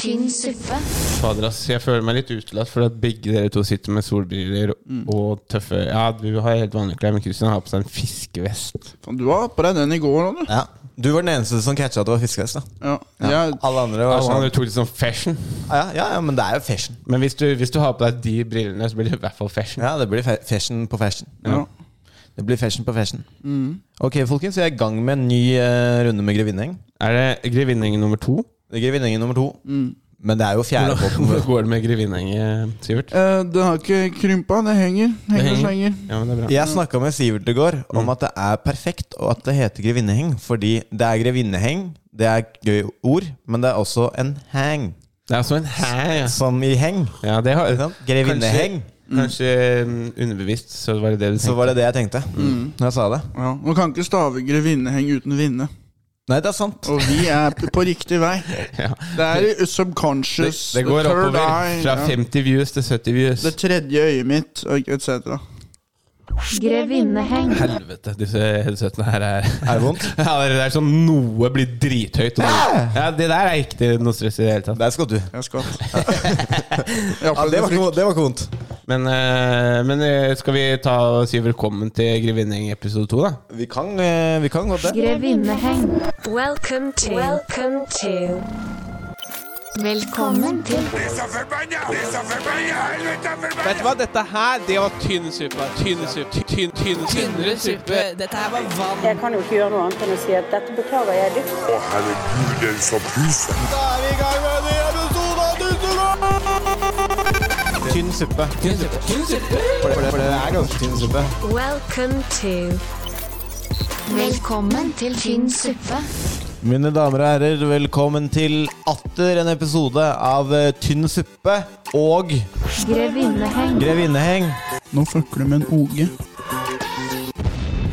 tynn suppe. Fader, ass. Jeg føler meg litt utelatt, for at begge dere to sitter med solbriller og tøffe Ja, du har helt vanlige klær, men Christian har på seg en fiskevest. Faen, Du har på deg den i går òg, du. Ja. Du var den eneste som catcha at det var fiskevest. da Ja. Jeg, Alle andre var Altså, sånn han tok litt sånn fashion. ja, ja, ja, men det er jo fashion. Men hvis du, hvis du har på deg de brillene, så blir det i hvert fall fashion. Ja, det blir fa- fashion på fashion. ja. Det blir fashion på fashion. Ok, folkens, vi er i gang med en ny eh, runde med Grevinneng. Er det grevinnehenge nummer to? Det er Grevinnengen nummer to. Mm. Men det er jo fjerde båten. Hvordan går det med grevinnehenge, Sivert? Eh, Den har ikke krympa, det henger. Henger og slenger. Ja, men det er bra. Jeg snakka med Sivert i går om at det er perfekt, og at det heter grevinneheng. Fordi det er grevinneheng, det er et gøy ord, men det er også en hang. Det er altså en hæ, ja. Som i heng. ja det har, Ikke sant? Grevinneheng. Kanskje mm, underbevisst, så var det det du Så tenkte. var det det jeg tenkte når jeg sa det. Mm. Ja. Man kan ikke stave grevinneheng uten vinne. Nei, det er sant. Og vi er p- på riktig vei. Ja. Det er i subconscious. Det går the third oppover eye, fra ja. 50 views til 70 views. Det tredje øyet mitt, etc. Grevinneheng. Helvete, disse headsetene her er Er det vondt? Ja, det er sånn noe blir drithøyt. Og noe. Ja, det der er ikke noe stress i det hele tatt. Der skvatt du. Jeg skvatt. Ja, det, var ikke, det var ikke vondt. Men, eh, men eh, skal vi ta og si velkommen til Grevinning episode to, da? Vi kan, eh, vi kan godt det. Grevinneheng. Welcome to. Welcome to. Velkommen til Vet du hva, dette her, det var tynn suppe. Tynn suppe. Tynn, tynn, tynnere suppe. Dette her var vann. Jeg kan jo ikke gjøre noe annet enn å si at dette beklager jeg dypt. Å, herregud, den som puser. Da er vi i gang med en ny episode av Tusenland! Tynn suppe. Tynn suppe. Tynn suppe. For det, for det er ganske tynn suppe. Welcome to. Velkommen til tynn suppe. Mine damer og herrer, velkommen til atter en episode av eh, Tynn suppe og Grevinneheng. Grevinneheng. Nå fucker du med en OG.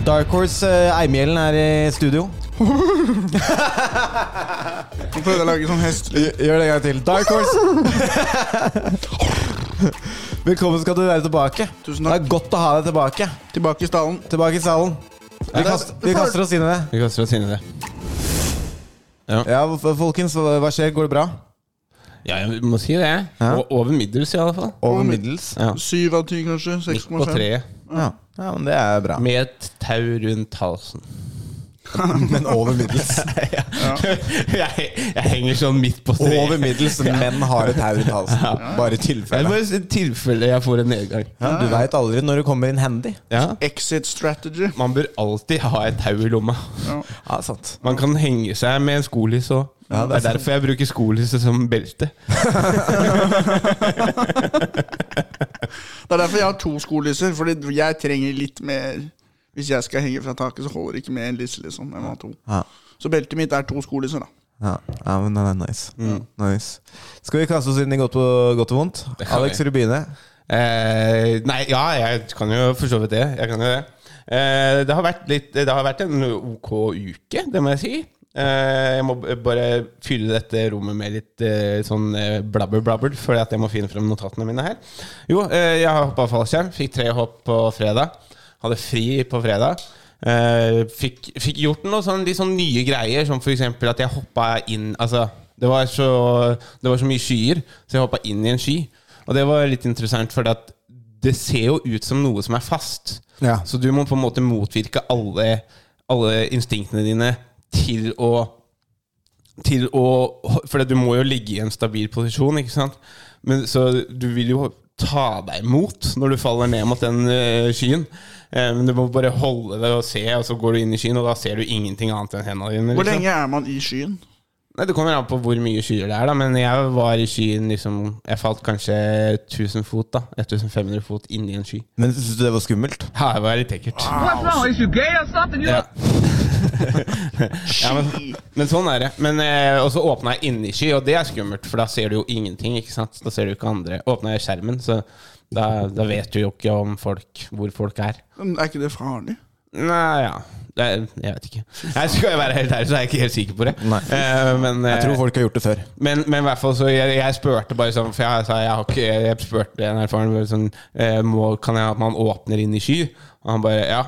Dark Horse eh, Eimhjellen er i studio. Jeg prøvde å lage sånn hest. Gjør det en gang til. Dark Horse! Velkommen skal du være tilbake. Tusen Det takk. er godt å ha deg tilbake. Tilbake i stallen. Tilbake i salen. Vi, kaster, vi kaster oss inn i det. Vi kaster oss inn i det. Ja, f- folkens, hva hva skjer? Går det bra? Ja, jeg må si det. Ja. O- Over middels, i alle fall. Over middels? Ja. Syv av ti, kanskje. Midt på 6,5. treet. Ja. ja, men det er bra. Med et tau rundt halsen. Men over middels. jeg, jeg henger sånn midt på treet. Over middels, men har et tau rundt halsen. Bare i Jeg tilfelle. bare i tilfelle jeg får en nedgang. Ja, du veit aldri når du kommer inn handy. Ja. Exit strategy. Man bør alltid ha et tau i lomma. Ja, sant. Man kan henge seg med en skoliss òg. Ja, det det er er derfor jeg bruker skolisset som belte. Det er derfor jeg har to skolisser, Fordi jeg trenger litt mer Hvis jeg skal henge fra taket, så holder det ikke med en lisse, liksom. Jeg må ha to. Ja. Så beltet mitt er to skolisser, da. Ja, ja men den er nice. nice. Skal vi kaste oss inn i godt og, godt og vondt? Det kan Alex, vi. vil du begynne? Eh, nei, ja, jeg kan jo for så vidt det. Jeg kan jo det. Eh, det, har vært litt, det har vært en ok uke, det må jeg si. Eh, jeg må b- bare fylle dette rommet med litt eh, sånn eh, blabber-blabber, for at jeg må finne fram notatene mine her. Jo, eh, jeg har hoppa fallskjerm. Fikk tre hopp på fredag. Hadde fri på fredag. Eh, fikk, fikk gjort noe sånn, litt sånn nye greier, som f.eks. at jeg hoppa inn Altså, det var, så, det var så mye skyer, så jeg hoppa inn i en sky. Og det var litt interessant, for at det ser jo ut som noe som er fast. Ja. Så du må på en måte motvirke alle, alle instinktene dine til å til å For du må jo ligge i en stabil posisjon, ikke sant? Men, så du vil jo ta deg imot når du faller ned mot den eh, skyen. Eh, men du må bare holde det og se, og så går du inn i skyen, og da ser du ingenting annet enn hendene dine. Hvor liksom. lenge er man i skyen? Nei, Det kommer an på hvor mye skyer det er, da. Men jeg var i skyen liksom Jeg falt kanskje 1000 fot, da. 1500 fot inni en sky. Men syns du det var skummelt? Ja, det var litt ekkelt. Ja. ja, men, men sånn er det. Men, eh, og så åpna jeg inni sky, og det er skummelt, for da ser du jo ingenting. ikke sant? Da ser du ikke andre. Åpna jeg skjermen, så da, da vet du jo ikke om folk, hvor folk er. Men Er ikke det farlig? Nei, ja det, er- Jeg vet ikke. Jeg skal jeg være helt ærlig, så er jeg ikke helt sikker på det. Nei. Eh, men, eh, Jeg tror folk har gjort det før. men, men i hvert fall så jeg, jeg spurte bare sånn For jeg sa jeg har ikke Jeg spurte en erfaren bare sånn eh, må, Kan jeg at man åpner inn i sky? Og han bare ja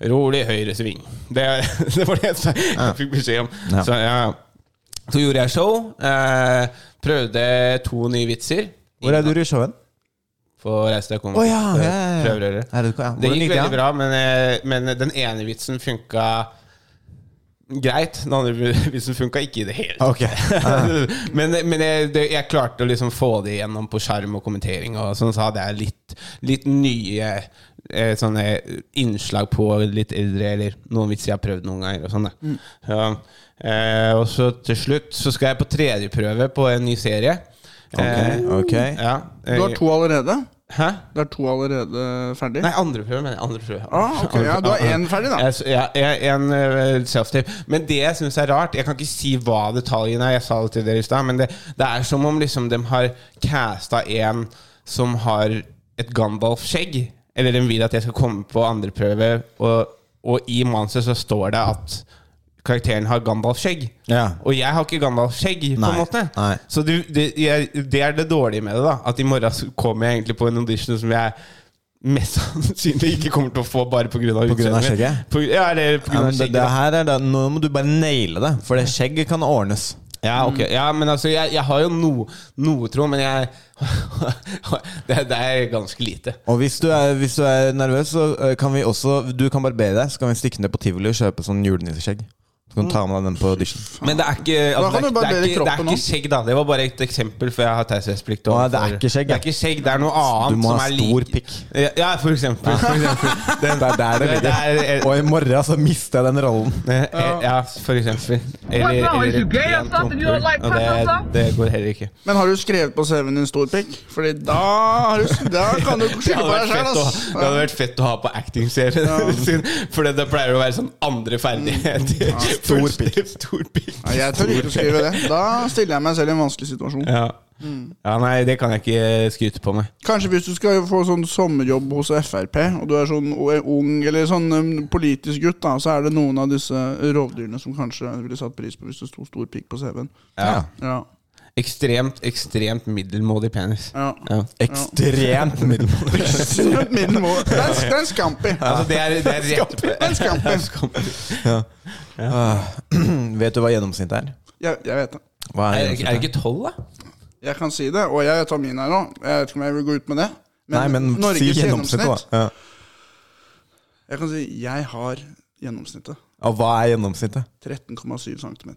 Rolig høyre sving Det, det var det jeg, sa, jeg fikk beskjed om Ja. Så ja Så gjorde jeg show. Eh, prøvde to nye vitser. Hvor er du i showen? For å reise deg Å ja, ja, ja. Prøverøre. Er det- ja, Det hvordan gikk gikk det, veldig bra, men, eh, men den ene vitsen funka greit. Den andre vitsen funka ikke i det hele tatt. Ok. men men jeg, det, jeg klarte å liksom få det igjennom på skjerm og kommentering. Og sånn så hadde jeg litt, litt nye eh, sånne innslag på litt eldre, eller noen vitser jeg har prøvd noen ganger. Og sånn da. Mm. Ja. eh, og så til slutt så skal jeg på tredje prøve på en ny serie. Eh, Ok, ok. ja. eh, Du har to allerede? Hæ? Det er to allerede ferdig? Nei, andre prøve, mener jeg. Andre prøve. Ah, ok, ja, du har én ferdig, da. Jeg s- Ja, jeg- en eh, self-tape. Men det jeg syns er rart Jeg kan ikke si hva detaljen er, jeg sa det til dere i stad, men det, det er som om liksom de har casta en som har et Gandalf-skjegg. Eller de vil at jeg skal komme på andre prøve, og, og i manuset så står det at karakteren har Gandalf-skjegg. Ja. Og jeg har ikke Gandalf-skjegg, på Nei, en måte. nei. Så du, det, jeg, det er det dårlige med det, da. At i morgen så kommer jeg egentlig på en audition som jeg mest sannsynlig ikke kommer til å få bare pga. På grunn av skjegget? På, ja, eller på Ja, grunn av men det, skjegget. det da. her er da, nå må du bare naile det, for det skjegget kan ordnes. Ja, ok. ja, men altså, jeg, jeg har jo noe, noe tro, men jeg det, det er ganske lite. Og hvis du er, hvis du er nervøs, så eh, kan vi også Du kan barbere deg, så kan vi stikke ned på tivoli og kjøpe sånn julenisseskjegg. Så kan du ta med deg den på audition. Men det er ikke altså, Da det, kan er, du det, barbere er ikke, det er kroppen ikke nå. skjegg, da. Det var bare et eksempel, for jeg har taushetsplikt. Nei, det er overfor- ikke skjegg, Det ja. er ikke skjegg, det er noe annet Du må som ha er stor lik- pikk. Ja, for eksempel. For eksempel. Det er der det Det- det ligger. er- Og i morgen så mister jeg den rollen. Eh, eh, Ja, for eksempel. Eller, wrong? Is eller you gay or pen something? You don't like rumpel. Og pussy det, det går heller ikke. Men har du skrevet på CV-en din stor pikk? Fordi da, har du, da kan du Det skylde hadde, vært fett å, det hadde på deg sjøl, ass. vært fett å ha på acting-serien sin, for det pleier å være sånn andre ferdigheter. Mm. stor Fullstendig Stor pikk. Nei, Jeg tør ikke å skrive det. Mm. Da stiller jeg meg selv i en vanskelig situasjon. Ja. ja, nei, det kan jeg ikke skryte på meg. Kanskje hvis du skal få sånn sommerjobb hos Frp, og du er sånn o- ung eller sånn um, politisk gutt, da, så er det noen av disse rovdyrene som kanskje ville satt pris på hvis det sto stor pikk på CV-en. Ja. Ja, Ekstremt, ekstremt middelmådig penis. ja. Ja. Ekstremt middelmådig. Min mor. Det er en- det er en skampi. Altså, det er, det er rett på Det er en skampi. Ah. Vet du hva gjennomsnittet er? Jeg, jeg vet det. Er, Hva er er det gjennomsnittet? ikke tolv, da? Jeg kan si det, og jeg tar min her nå. Jeg vet ikke om jeg vil gå ut med det. Nei, men si gjennomsnittet, da. Ja. Jeg kan si jeg har gjennomsnittet. Og hva er gjennomsnittet? 13,7 cm.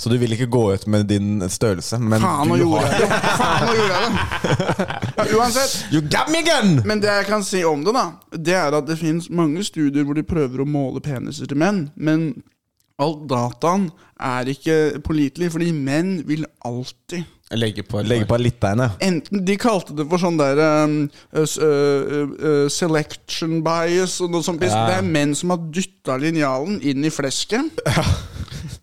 Så du vil ikke gå ut med din størrelse, men Faen, nå du gjorde har jeg det! Faen, nå gjorde jeg det! Ja, uansett. You got me again! Men det jeg kan si om det, da, det er at det finnes mange studier hvor de prøver å måle peniser til menn, men all dataen er ikke pålitelig, fordi menn vil alltid Legge på. Legge på litt der inne. Enten de kalte det for sånn der um, s- ø, ø, ø, selection bias og noe sånt. piss. Det er menn som har dytta linjalen inn i flesket.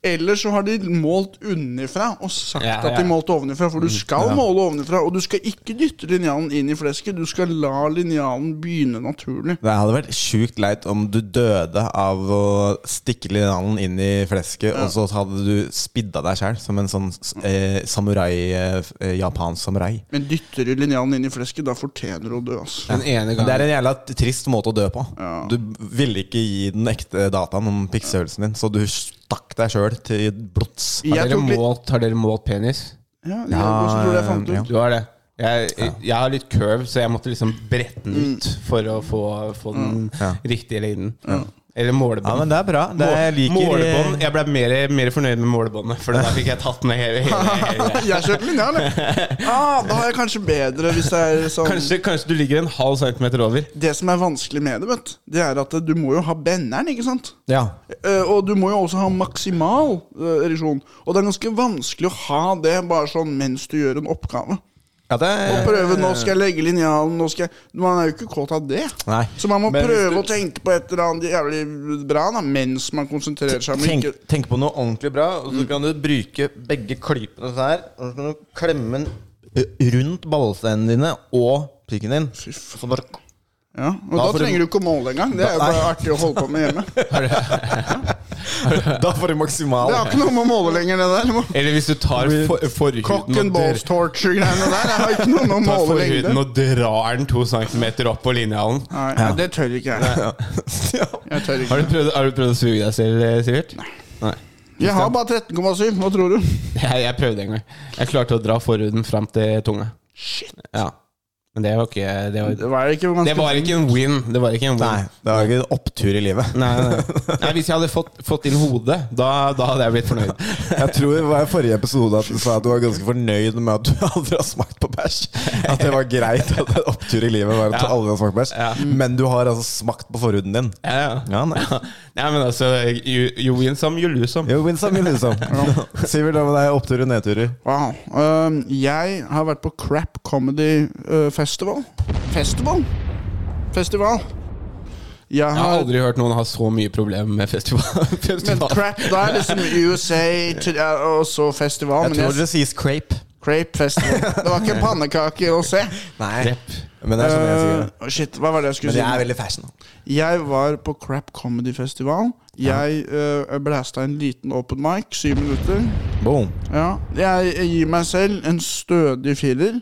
Eller så har de målt underfra og sagt Ja, at de ja. Mm, målte ovenfra. For du skal måle ovenfra, og du skal ikke dytte linjalen inn i flesket. Du skal la linjalen begynne naturlig. Det hadde vært sjukt leit om du døde av å stikke linjalen inn i flesket, og så hadde du spidda deg sjæl som en sånn eh, samurai eh, f- eh, japansk samurai. Men dytter du linjalen inn i flesket, da fortjener du å dø. Altså. Den ene Men det er gangen en jævla t- trist måte å dø på. Du ville ikke gi den ekte dataen om pikkstørrelsen din, så du stakk deg sjøl til blods. har Jeg dere, tok litt målt, har dere målt penis? Ja, jeg også tror det jeg fant ja. ut. Du har det. Jeg, jeg har litt curve, så jeg måtte liksom brette den ut for å få, få den Ja. riktige lengden. Eller Ja, målebånd. men det er bra. Det er, jeg liker målebånd. Jeg ble mer, mer fornøyd med målebåndet, for da fikk jeg tatt ned hele, hele, hele. Jeg kjøper linjal, jeg. Ah, da har jeg kanskje bedre hvis det er sånn Kanskje, kanskje du ligger en halv centimeter over. Det som er vanskelig med det, vet du, det er at du må jo ha benderen, ikke sant? Ja. Eh, Og du må jo også ha maksimal eh, ereksjon. Og det er ganske vanskelig å ha det bare sånn mens du gjør en oppgave. ja, det er Prøve, nå skal jeg legge linjalen, nå skal jeg Man er jo ikke kåt av det. Nei. Så man må Men hvis prøve du- å tenke på et eller annet jævlig bra da, mens man konsentrerer seg. om Tenk, ikke... tenk på noe ordentlig bra, og så kan du bruke begge klypene sånn her. Og så kan du klemme den ø, rundt ballesteinene dine og pikken din. Så bare Ja, og da, Da får du- trenger du ikke å måle engang. Det er jo Da- bare artig å holde på med hjemme. Det Da får du maksimal. har ikke noe med å måle lenger, det der. Må- Eller hvis du tar for, Cock forhuden and og, balls dr torture-greiene der. Jeg har ikke noe med å tar måle forhuden lengde. og drar den to centimeter opp på linjalen. Nei, det tør ikke jeg. Jeg tør ikke. Har du prøvd, har du prøvd å suge deg selv, eh, Sivert? Nei. Jeg har bare 13,7. Hva tror du? Jeg, jeg prøvde en gang. Jeg klarte å dra forhuden fram til tunga. Shit Ja Men det var ikke Det var, Det var ikke ganske det var ikke en win. Det var ikke en win. Nei, det var ikke en opptur i livet. Nei, nei. nei, hvis jeg hadde fått, fått inn hodet, da, da hadde jeg blitt fornøyd. Jeg tror det var i forrige episode at du sa at du var ganske fornøyd med at du aldri har smakt på bæsj. At det var greit at en opptur i livet var at du Ja. aldri har smakt på bæsj. Ja. Men du har altså smakt på forhuden din. Ja, ja. Ja, nei. Nei, men altså Jo, jo innsam, jo lusom. Jo, Winsam, jo, Winsam. Sivert, hva med deg? Oppturer, nedturer? Wow. Øhm, jeg har vært på Crap Comedy øh, Festival. Festival? Festival. Jeg Jeg har har aldri hørt noen ha så mye problemer med festival. men festival. crap, da er liksom USA til, ja, og så festival. Jeg men tror jeg, det sies crepe. Crape Festival. Det var ikke pannekaker å se. Nei. Crepe. Men det er sånn jeg sier det. Øh, shit, hva var det jeg skulle Men si? jeg er veldig fashion. Jeg var på Crap Comedy Festival. Jeg øh, blæsta en liten open mic, syv minutter. Boom. Ja. Jeg, jeg gir meg selv en stødig firer.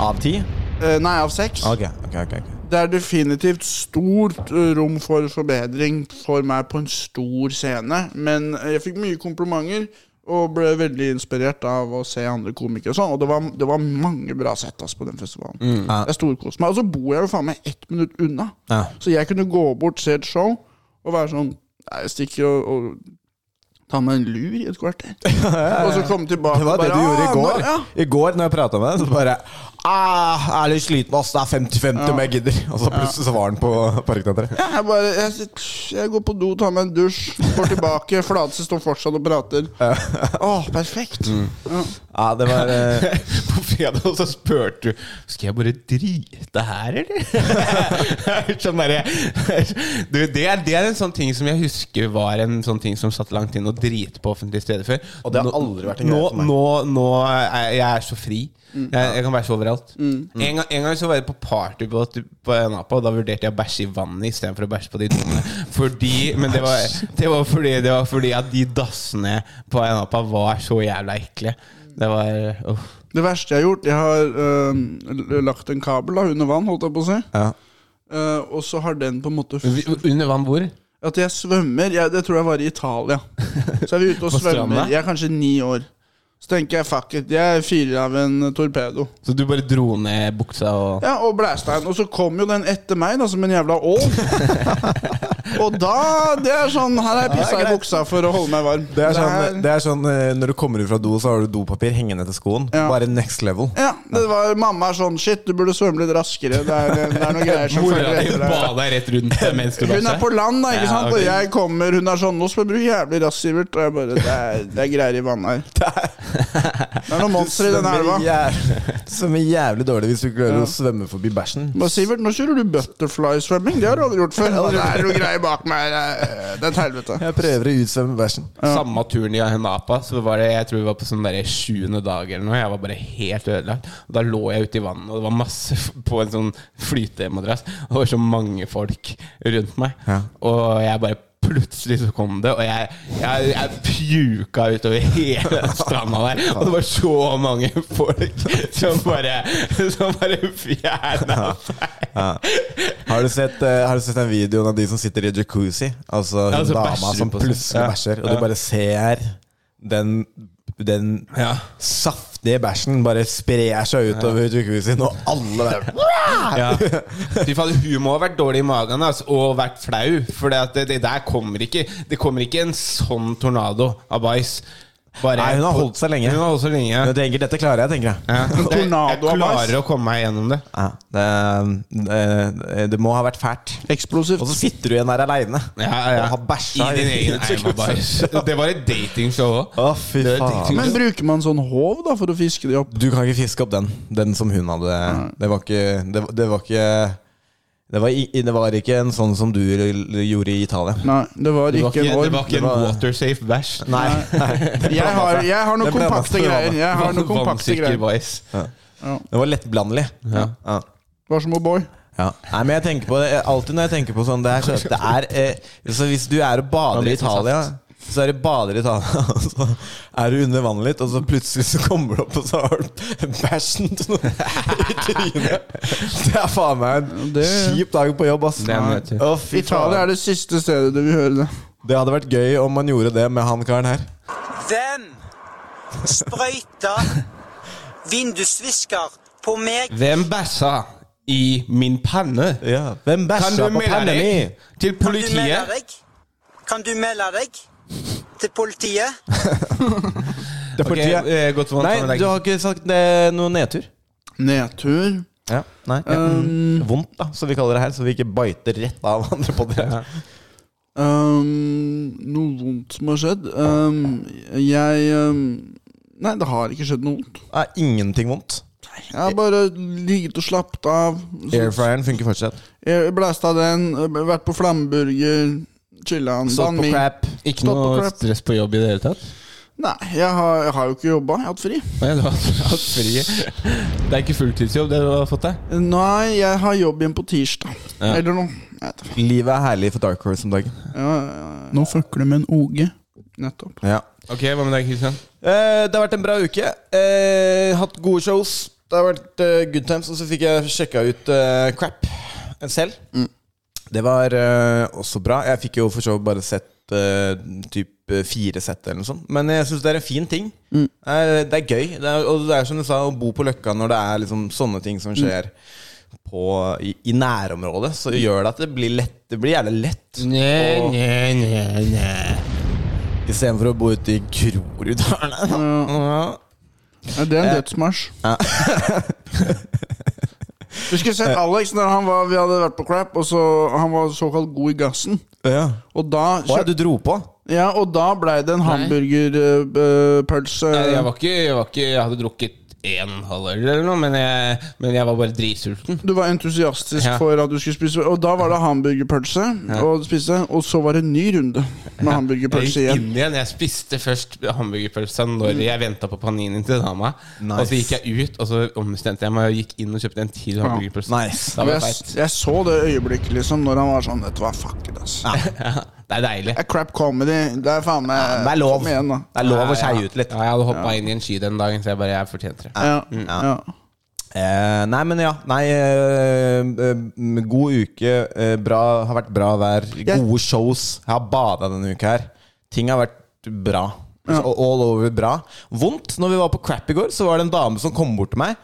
Av ti? Eh, nei, av seks. Ok, ok, ok. ok. Det er definitivt stort eh, rom for forbedring for meg på en stor scene. Men eh, jeg fikk mye komplimenter og ble veldig inspirert av å se andre komikere. Og sånn Og det var, det var mange bra sett ass, på den festivalen. Ja. Jeg storkoste meg. Og så altså, bor jeg jo faen meg ett minutt unna. Mm. Ja. Så jeg kunne gå bort, se et show og være sånn Nei, jeg stikker og, og tar meg en lur i et kvarter. Og så komme tilbake Det var det og du gjorde i «Ah, går. nå- Ja, I går når jeg prata med deg, så bare ah, Jeg er litt sliten, ass. Det er 50-50 om jeg gidder. Og så plutselig så var han på Parkteatret. Ja, Jeg, bare, jeg, jeg går på do, tar meg en dusj, går tilbake. Flatse står fortsatt og prater. Åh, perfekt! Mm. Ja, det var eh, På fredag så spurte du Skal jeg bare drite her, eller? sånn derre Du, det er, det er en sånn ting som jeg husker var en sånn ting som satt langt inn å drite på offentlige steder før. Og det har Nå- aldri vært en greie nå, for meg. Mm. Nå, nå er jeg er så fri. Jeg, jeg kan bæsje overalt. En, gang, en gang så var jeg på partybåt på Napa, og da vurderte jeg å bæsje i vannet istedenfor å bæsje på de doene. Fordi, men det var, det, var fordi, det var fordi at de dassene på Napa var så jævla ekle. Det var uff. Det verste jeg har gjort Jeg har øhm, l- lagt en kabel da, under vann, holdt jeg på å si. ja. Eh, og så har den på en måte f- Vi- Under vann hvor? At jeg svømmer jeg, Det tror jeg var i Italia. Så er vi ute og På stranda? svømmer. Jeg er kanskje ni år. Så tenker jeg fuck it, jeg fyrer av en torpedo. Så du bare dro ned buksa og Ja, Og Blæstein. Og så kom jo den etter meg, da, som en jævla ål. og da Det er sånn Her har jeg pissa i buksa for å holde meg varm. Det er sånn, her- det er sånn eh, Når du kommer ut fra do, så har du dopapir hengende etter skoen. Ja. Bare next level. ja, det var Mamma er sånn Shit, du burde svømme litt raskere. Det er, det er noen greier som Mora følger di etter deg. bada rett rundt deg mens du Hun er på land, da, ikke Ja, sant? ok. Og jeg kommer, hun er sånn 'Nå skal du bli jævlig rask, Sivert'. Og jeg bare Det er, det er greier i vannet her. Det er noen monstre i denne elva. Svømmer jævlig dårlig hvis du ikke klarer å svømme forbi bæsjen. Bare, Sivert, nå kjører du butterfly-svømming. Det har du aldri gjort før. Og det er noe greier bak meg. Det er- Det er et helvete. Jeg prøver å utsvømme bæsjen. Samme turen i Ahenapa, så var det, jeg tror vi var på sånn der sjuende dag eller noe. Jeg var bare helt ødelagt. Og da lå jeg ute i vannet, og det var masse f- på en sånn flytemadrass. Og det var så mange folk rundt meg. Ja. Og jeg bare Plutselig så kom det, og jeg, jeg, jeg pjuka utover hele stranda der. Og det var så mange folk som bare, som bare fjerna seg. Har du sett, eh, har du sett den videoen av de som sitter i jacuzzi? Altså hun Ja, så dama bæsjer som på seg. plutselig Ja. bæsjer, og Ja. du bare ser den, den Ja. saftige bæsjen bare sprer seg utover jacuzzien, og alle bare Ja. Fy faen, hun må ha vært dårlig i magen altså, og vært flau. For det, at det, det der kommer ikke Det kommer ikke en sånn tornado av bæsj. Bare- Nei, hun har holdt seg lenge. Hun har holdt seg lenge. Jeg tenker, Dette klarer jeg, tenker jeg. Ja. Jeg, jeg tornado av bæsj. klarer å komme meg gjennom det. Ja, det, det, det må ha vært fælt. Eksplosivt. Og så sitter du igjen der aleine Ja, ja. og har bæsja I din egen eim av bæsj. Det var et datingshow òg. Å, fy Det er faen. dikting. Men bruker man sånn håv da for å fiske de opp? Du kan ikke fiske opp den. Den som hun hadde. Det var ikke Det, var- det var ikke det var, i- det var ikke en sånn som du gjorde i Italia. Nei, det var Det var ikke, ikke en det orm. var ikke en Det var- watersafe bæsj. Nei. Jeg har, jeg har noen Det ble kompakte vanskelig, greier. Anna. Jeg har noen kompakte Vannsikker greier bæsj. Det var lettblandelig. Ja. Ja. Var som O'boy. Ja. Nei, men jeg tenker på det jeg- Alltid når jeg tenker på sånn Det er, så, det er eh, så hvis du er og Man bader i blir så Italia så er du bader i Italia, og så er du under vannet litt, og så plutselig så kommer du opp, og så har du bæsjen til noen i trynet. Det er faen meg en Det- kjip dag på jobb, ass. Det er en nedtur. Å, fy faen. Italia er det siste stedet du vil høre det. Det hadde vært gøy om man gjorde det med han karen her. Hvem sprøyta vindusvisker på meg? Hvem bæsja i min panne? Hvem Kan bæsja du på melde pannen min? deg til Kan du melde politiet? deg? Kan du melde deg til politiet? Det er Ok, politiet. eh, godt vant Nei, med deg. du har ikke sagt det, noe nedtur. Nedtur. Ja, nei, ja. Mm. Vondt, da, som vi kaller det her. Så vi ikke biter rett av andre på det. Ehm, noe vondt som har skjedd. Ehm, jeg ehm, Nei, det har ikke skjedd noe vondt. Er ingenting vondt. Jeg har bare ligget og slappet av. Airfryeren funker fortsatt. Jeg Blæsta den, vært på flammeburger, chilla en Stått på mi. crap. Ikke Stått på noe crap. stress på jobb i det hele tatt? Nei, jeg har, jeg har jo ikke jobba. Jeg har hatt fri. Nei, du har hatt fri. Det er ikke fulltidsjobb det du har fått deg? Nei, jeg har jobb igjen på tirsdag. Eller noe. Jeg vet ikke. Livet er herlig for Dark Horse om dagen. Ja, ja, ja. Nå fucker du med en OG. Nettopp. Ja. Ok, hva med deg, Kristian? Eh, det har vært en bra uke. Eh, hatt gode shows. Det har vært eh, good times. Og så fikk jeg sjekka ut eh, crap selv. Det var eh, også bra. Jeg fikk jo for så vidt bare sett eh, typ eh, fire sett eller noe sånt. Men jeg syns det er en fin ting. Eh, det er gøy. Det er, og det er som du sa, å bo på Løkka når det er liksom sånne ting som skjer. På, i, I nærområdet så gjør det at det blir lett Det blir jævlig lett. å- Istedenfor å bo ute i Groruddalen. Ja. Ja, det Eh, er en dødsmarsj. Vi skulle Eh. sett Alex når han var, vi hadde vært på crap, og så, han var såkalt god i gassen. Ja. Og da, Hva er det du dro på? ja, og da blei det en eh, hamburgerpølse. Jeg var ikke Jeg, var ikke, jeg hadde drukket én halvøl eller noe, men jeg, men jeg var bare dritsulten. Du var entusiastisk Ja. for at du skulle spise, og da var det hamburgerpølse. Og spise, og så var det en ny runde med Jeg hamburgerpølse gikk igjen. inn igjen. Jeg spiste først hamburgerpølsa når jeg venta på paninen til dama. Nice. Og så gikk jeg ut, og så omstemte jeg meg og gikk inn og kjøpte en til hamburgerpølse. Nice. Da var jeg jeg, feit. jeg så det øyeblikket liksom når han var sånn Vet du hva, fuck it, ass. Det er deilig. Det er crap comedy. Det er faen meg Det er lov. Kom igjen, da. Det er lov å skeie ut litt. Ja, jeg hadde hoppa inn i en sky den dagen, så jeg bare Jeg fortjente det. Ja, Mm, Ja. ja. Eh, nei, men ja. Nei, eh, eh, god uke. Eh, bra, har vært bra vær. Gode shows. Jeg har bada denne uka her. Ting har vært bra. Og All over bra. Vondt. Når vi var på crap i går, så var det en dame som kom bort til meg.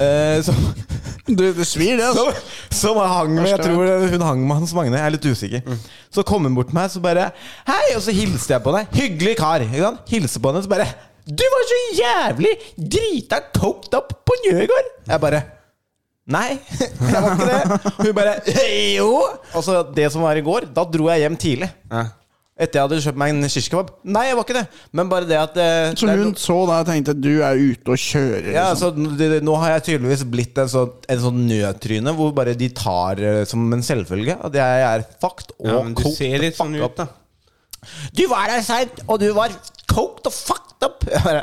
eh, som, Du, det svir, det. Altså. som, som hang med Jeg tror hun hang med Hans Magne. Jeg er litt usikker. Så kom hun bort til meg, så bare Hei! Og så hilste jeg på henne. Hyggelig kar. Ikke sant? Hilser på henne, så bare Du var så jævlig drita coked up på Njøgård! Jeg bare Nei, jeg var ikke det. Hun bare «Eh, Jo! Og så det som var i går, da dro jeg hjem tidlig. Ja. Etter jeg hadde kjøpt meg en shish kebab. Nei, jeg var ikke det. Men bare det at eh, Så det er hun no- så da og tenkte du er ute og kjører. ja, Liksom. så det, Nå har jeg tydeligvis blitt en sånn, en sånn nødtryne hvor bare de tar eh, som en selvfølge at jeg er fucked og Ja, men du coked ser litt the sånn fuck ut, da. up. Du var der seint, og du var coked og fucked up! Jeg bare,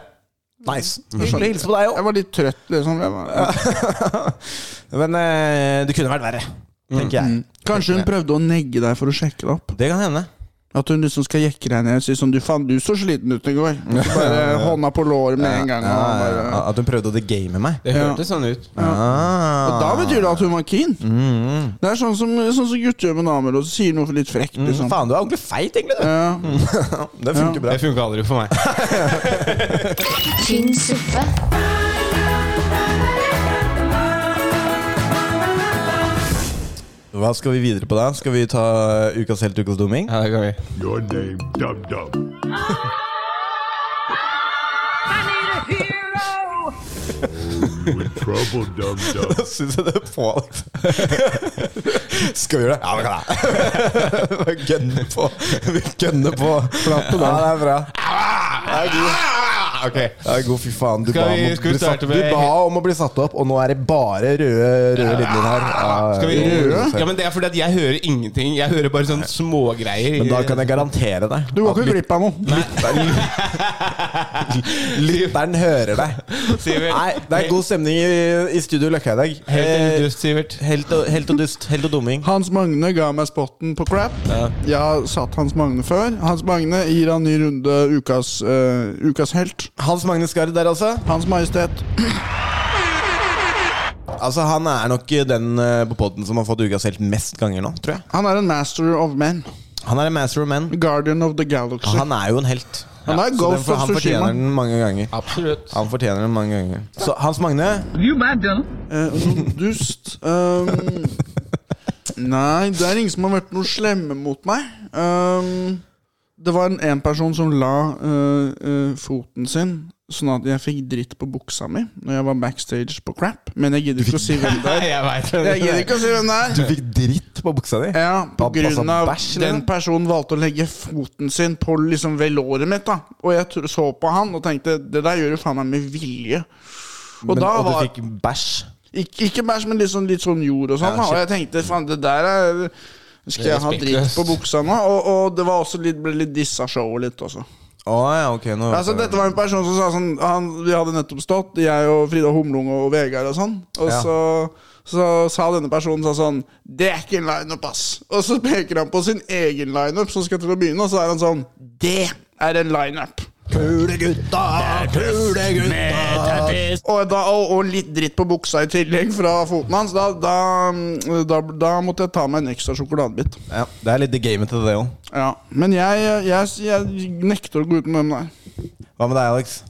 nice. Hyggelig å hilse på deg Jeg òg. var litt trøtt, liksom. Jeg var, Men eh, det kunne vært verre, tenker jeg. Kanskje hun prøvde å negge deg for å sjekke deg opp? Mm. Det kan hende. At hun liksom skal jekke deg ned og si sånn Du faen, du så sliten ut i går. Og så Bare hånda på låret med en gang. Ja, Og, ja, bare, ja. At hun prøvde å degame meg. Det hørtes sånn ut. Ah. og da betyr det at hun var keen. Det er sånn som, sånn som gutter gjør med damer og så sier noe litt frekt. Mm-hmm. Mm, Liksom. Faen, du er ordentlig feit, egentlig. du. Ja. Det funker bra. Det funka aldri for meg. Tynn suppe. Hva skal vi videre på da? Skal vi ta eh, ukas helt, ukas dumming? Ja, det kan vi. Your name, Dub Dub. You in Oh, trouble, Dub Dub. Syns jeg det er på, Alex. Skal vi gjøre det? Ja, vi kan det. Bare Gønne på. Vi gønner på. Ja, det er bra. Det er god. Det er god, fy faen. Du, Skal ba, vi- om å skal vi bli satt, starte du med- ba om å bli satt opp, og nå er det bare røde, røde linjer her. Ja, Skal vi jo, jo, jo. Ja, men Det er fordi at jeg hører ingenting. Jeg hører bare sånne smågreier. Men da kan jeg garantere deg Du går at ikke glipp av noe. lyt- lytteren hører deg. Sivert. Nei, det er god stemning i, i Studio Løkka i dag. Helt til Eh, dust, Sivert. Helt og, helt og dust. Helt og dumming. Hans Magne ga meg spotten på crap. Jeg har satt Hans Magne før. Hans Magne gir han ny runde ukas, eh, ukas helt. Hans Magnus Gahr der, altså. Hans Majestet. Altså Han er nok den eh, på podden som har fått ukas helt mest ganger nå, tror jeg. Han er en master of men. Han er en master of men. Guardian of the Galaxy. Han er jo en helt. Han er så Ghost den får- of han fortjener Tsushima. den mange ganger. Absolutt. Han fortjener den mange ganger. Så Hans Magne Eh, noe dust. Um, nei, det er ingen som har vært noe slemme mot meg. Um, det var en, en person som la eh, eh, foten sin sånn at jeg fikk dritt på buksa mi når jeg var backstage på crap. Men jeg gidder ikke å si hvem det er. Jeg vet det. Jeg gidder ikke å si hvem det er. fikk dritt på buksa di. Ja, på Pappa sa grunn av bæsj, eller? den personen valgte å legge foten sin på liksom velåret mitt. da Og jeg tro- så på han og tenkte det der gjør du faen meg med vilje. Og Men, da og var du fikk bæsj. ikke, ikke bæsj, men litt sånn, litt sånn jord og sånn. Ja, da. og jeg tenkte faen, det der er Skal Det er jeg ha dritt respektløst. på buksa nå? Og, og det var også litt, ble litt dissa showet litt også. Å ja, ok. Nå Altså, dette var en person som sa sånn han, Vi hadde nettopp stått, jeg og Frida Humlung og Vegard og sånn. Og Ja. så, så sa denne personen sa sånn Det er ikke en lineup, ass! Og så peker han på sin egen lineup som skal til å begynne, og så er han sånn Det er en lineup! Pulegutta, pulegutta. Og, da, og, og litt dritt på buksa i tillegg fra foten hans. Da, da, da, da måtte jeg ta meg en ekstra sjokoladebit. Ja, det er litt det gamet til det òg. Ja. Men jeg, jeg, jeg nekter å gå uten den der. Hva med deg, Alex?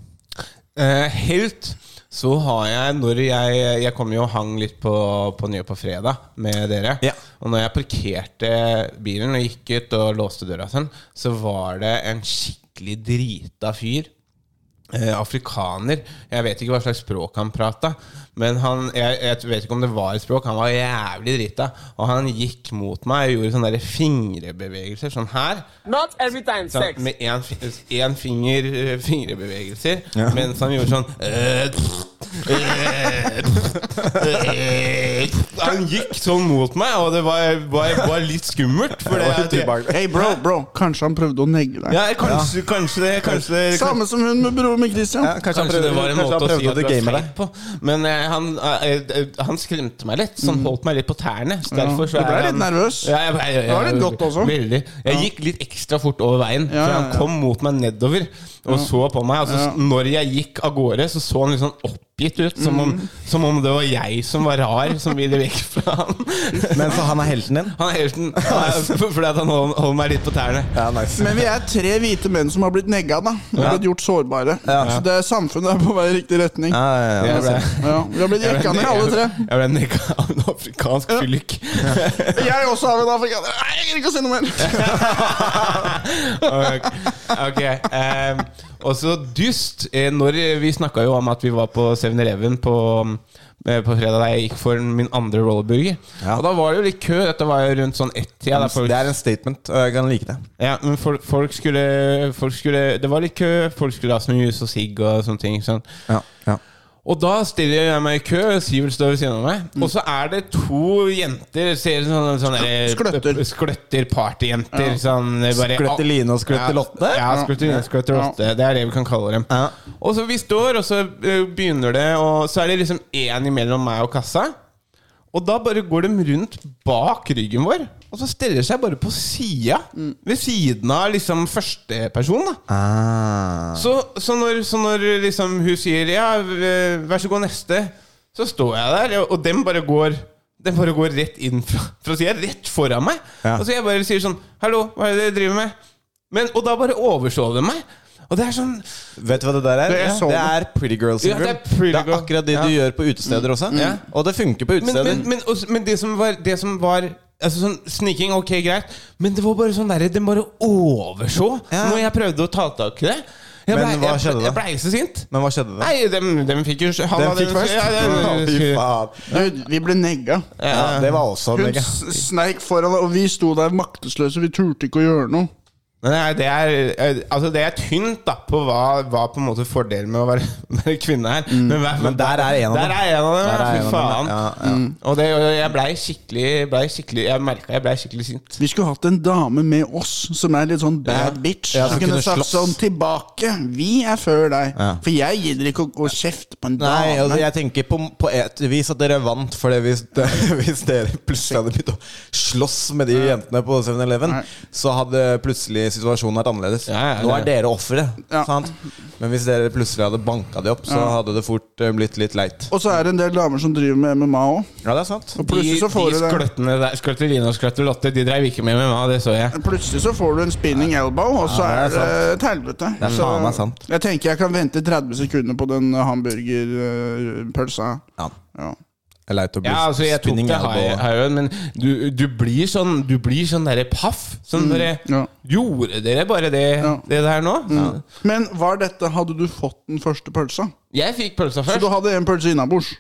Eh, helt så har jeg når jeg Jeg kom jo og hang litt på, på Nye på fredag med dere. Ja. Og når jeg parkerte bilen og gikk ut og låste døra, og sånn, så var det en skikkelig drita fyr. Eh, afrikaner. Jeg vet ikke hva slags språk han prata. Men han, jeg, jeg vet ikke om det var et språk. Han var jævlig drita. Og han gikk mot meg og gjorde sånne der fingrebevegelser. Sånn her. Not every time, Sånn, Med én finger eh, Fingrebevegelser Ja. Mens han gjorde sånn eh, pff, eh, pff, eh, pff. Han gikk sånn mot meg Og det var, var, var litt skummelt For det, litt ubehagelig. Hey, bro, bro, kanskje han prøvde å negge deg. ja, kanskje, kanskje det Kanskje det Samme som hun med broren min, Christian. Ja, kanskje, han Kanskje det prøvde, var en kanskje måte han å si prøvde at du var game feit deg. på. Men eh, han, eh, eh, han skremte meg litt, så han holdt meg litt på tærne. Så Mm. Ja. derfor så Du ble er litt han- nervøs. Ja, jeg, jeg, jeg, Det var litt godt også. Veldig. Jeg gikk litt ekstra fort over veien, Ja, for ja, han ja. kom mot meg nedover og så på meg. Altså, Ja. Når jeg gikk av gårde, så så han litt sånn oppgitt ut, som om, Mm. som om det var jeg som var rar, som ville vekk fra han. Men så han er helten din? Han er helt en- han er- Fordi at han hold- holder meg litt på tærne. Ja, nice. Men vi er tre hvite menn som har blitt negga, da. Og blitt gjort sårbare. Så det er samfunnet er på vei i riktig retning. ja, ja, ja. Jeg ble, Ja, vi har blitt jeg jekka ble, ned, alle tre. jeg ble nekka av en afrikansk fyllik. Jeg er også av en afrikaner. Nei, Jeg gidder ikke å si noe mer. Ok, ok, ehm, Og så dyst eh, Når vi snakket jo om at vi var på 7-Eleven på, eh, på fredag da jeg gikk for min andre rollerburger Ja. Mm, Og da var det jo litt kø Dette var jo rundt sånn ett tida der folk, Det er en statement, og jeg kan like det. ja, men folk, folk, skulle, folk skulle Det var litt kø Folk skulle ha snus og sigg og sånne ting sånn. Ja, ja. Og da stiller jeg meg i kø, Sivert står ved siden av meg. Mm. Og så er det to jenter, ser ut som sånne, sånne eh, Skløtter. skløtter partyjenter. Sånn, eh, bare- Skløtter Line og skløtter ja, Lotte? Ja, skløtter Line og skløtter Lotte. Det er det vi kan kalle dem. Ja. Og så vi står, og så eh, begynner det, og så er det liksom én imellom meg og kassa. Og da bare går de rundt bak ryggen vår, og så steller de seg bare på sida. Mm. Ved siden av liksom førsteperson, da. Ah. Så, så, når, så når liksom hun sier Ja, v- vær så god neste Så står jeg der, og dem bare går Den bare går rett inn fra, fra siden Rett foran meg Ja. Og så jeg bare sier sånn Hallo, hva er det dere driver med? Men, og da bare overså de meg Og det er sånn Vet du hva det der er? Det er Ja. sånn. Det er pretty girl syndrome. Ja, det er pretty girl. akkurat det du Ja. Mm. gjør på utesteder også. Og det funker på Men, utesteder. men, men, og, men det som var, det som var Altså sånn Sniking, ok, greit. Men det var bare sånn derre Den bare overså Ja. når jeg prøvde å ta tak i det. Jeg Men hva jeg, skjedde da? Jeg blei så sint. Men hva skjedde da? Nei, dem, dem fikk jo han Den hadde- fikk først? Ja, Å, dem- Fy faen. Dude, vi ble negga. Ja, det var også Hun mega. s- sneik foran, og vi sto der maktesløse. Vi turte ikke å gjøre noe. Men det er, det er, eh, altså det er tynt da på hva, hva på en måte fordelen med å være, være kvinne er. Men, hver- Mm. Men der er en av dem. Der er en av dem, Der er ja. en Fy av dem, faen. Mm. ja, ja. Og det, og jeg blei skikkelig, blei skikkelig Jeg merka jeg blei skikkelig sint. Vi skulle hatt en dame med oss som er litt sånn bad bitch. Ja, som som kunne kunne sagt slåss. sånn tilbake. Vi er før deg. Ja. For jeg gidder ikke å gå og kjefte på en Nei, dame. altså, jeg tenker på, på et vis at dere vant for det hvis, hvis dere plutselig hadde begynt å slåss med de jentene på 7-Eleven, så hadde plutselig situasjonen vært annerledes. Ja, ja, Nå det- er dere ofre. Ja. sant? Men hvis dere plutselig hadde banka de opp, så hadde det fort eh, blitt litt leit. Og så er det en del damer som driver med MMA òg. Ja, det er sant. Og plutselig så får de du det. skløttene der, Skløtterine og skløtterlotte, de dreiv ikke med MMA, det så jeg. Plutselig så får du en spinning elbow, og så Ja, er det det er et helvete. Det er Så faen meg sant. Jeg tenker jeg kan vente 30 sekunder på den eh, hamburgerpølsa. Ja. Ja. Det er Leit å bli Ja, altså jeg tok spinning det elbow. high- high-en, men du, du blir sånn Du blir sånn derre paff. Sånn Mm, bare ja. Gjorde dere bare det, Ja. det der nå? Men var dette Hadde du fått den første pølsa? Jeg fikk pølsa Så du først. hadde en pølse innabords?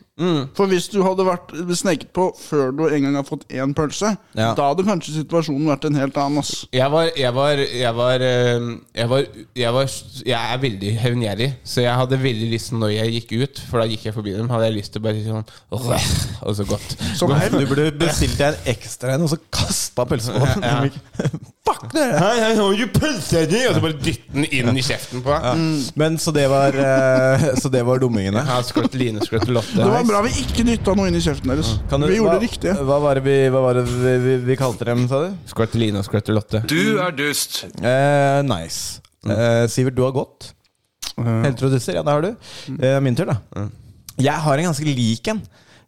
For hvis du hadde vært sneket på før du engang har fått én pølse, Ja. da hadde kanskje situasjonen vært en helt annen. ass Jeg var Jeg var Jeg var eh, Jeg, var, jeg, var, jeg er veldig hevngjerrig, så jeg hadde veldig lyst når jeg gikk ut, for da gikk jeg forbi dem, hadde jeg lyst til å bare si sånn «Åh, Og så godt. Som Men her. Du burde bestilt deg en ekstra en, og så kasta pølsa på den. Fuck dere! Hei, hei, har du pølse di? Og så bare dytte den inn i kjeften på deg. Men så det var eh, Så det var dummingene. Ja, Skløtteline, skløttelotte. Det var bra vi ikke dytta noe inn i kjeften deres. Kan du- vi hva, gjorde det riktige. Hva var det vi, hva var det vi, vi, vi kalte dem, sa du? Skløtteline og skløttelotte. Eh, nice. Eh, Sivert, du har gått. Mm. Helter og dusser, ja, det har du. Eh, min tur, da. Mm. Jeg har en ganske lik en.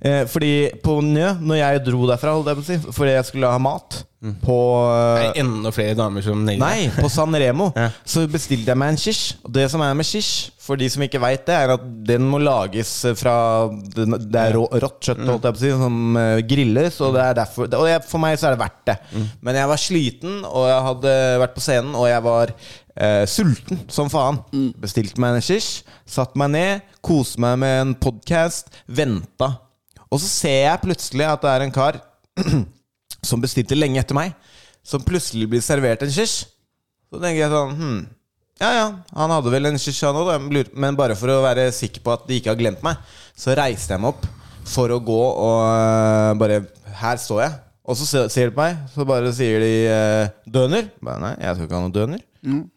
Eh, fordi på Njø, når jeg dro derfra, holdt jeg på å si, fordi jeg skulle ha mat Mm. på Det eh, er enda flere damer som negler. Nei, på San Remo Ja. så bestilte jeg meg en shish. Og det som er med shish, for de som ikke veit det, er at den må lages eh, fra den- Det er rå, rått kjøtt, holdt jeg på å si, som eh, grilles, og det er derfor Og jeg, for meg så er det verdt det. Men jeg var sliten, og jeg hadde vært på scenen, og jeg var eh, sulten som faen. Bestilte meg en shish, satte meg ned, koste meg med en podkast, venta. Og så ser jeg plutselig at det er en kar som bestilte lenge etter meg, som plutselig blir servert en shish. Så tenker jeg sånn hmm. Ja ja, han hadde vel en shish han òg, men bare for å være sikker på at de ikke har glemt meg, så reiste jeg meg opp for å gå og øh, bare Her står jeg. Og så se- ser de på meg, så bare sier de øh, 'døner'. Bare, Nei, jeg skal ikke ha noe døner.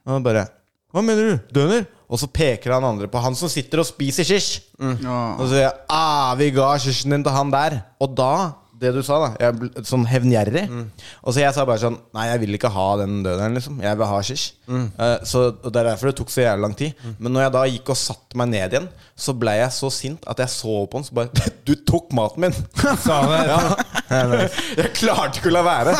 Og han bare 'Hva mener du? Døner?' Og så peker han andre på han som sitter og spiser shish. Ja. Og så sier jeg ah, 'Vi ga skisjen din til han der'. Og da, det du sa, da jeg ble Sånn hevngjerrig. Og så jeg sa bare sånn 'Nei, jeg vil ikke ha den døderen, liksom. Jeg vil ha skisj'. Eh, så og Det er derfor det tok så jævlig lang tid. Men når jeg da gikk og satte meg ned igjen, så ble jeg så sint at jeg så på han så bare 'Du tok maten min'! Sa han det? Ja. jeg klarte ikke å la være.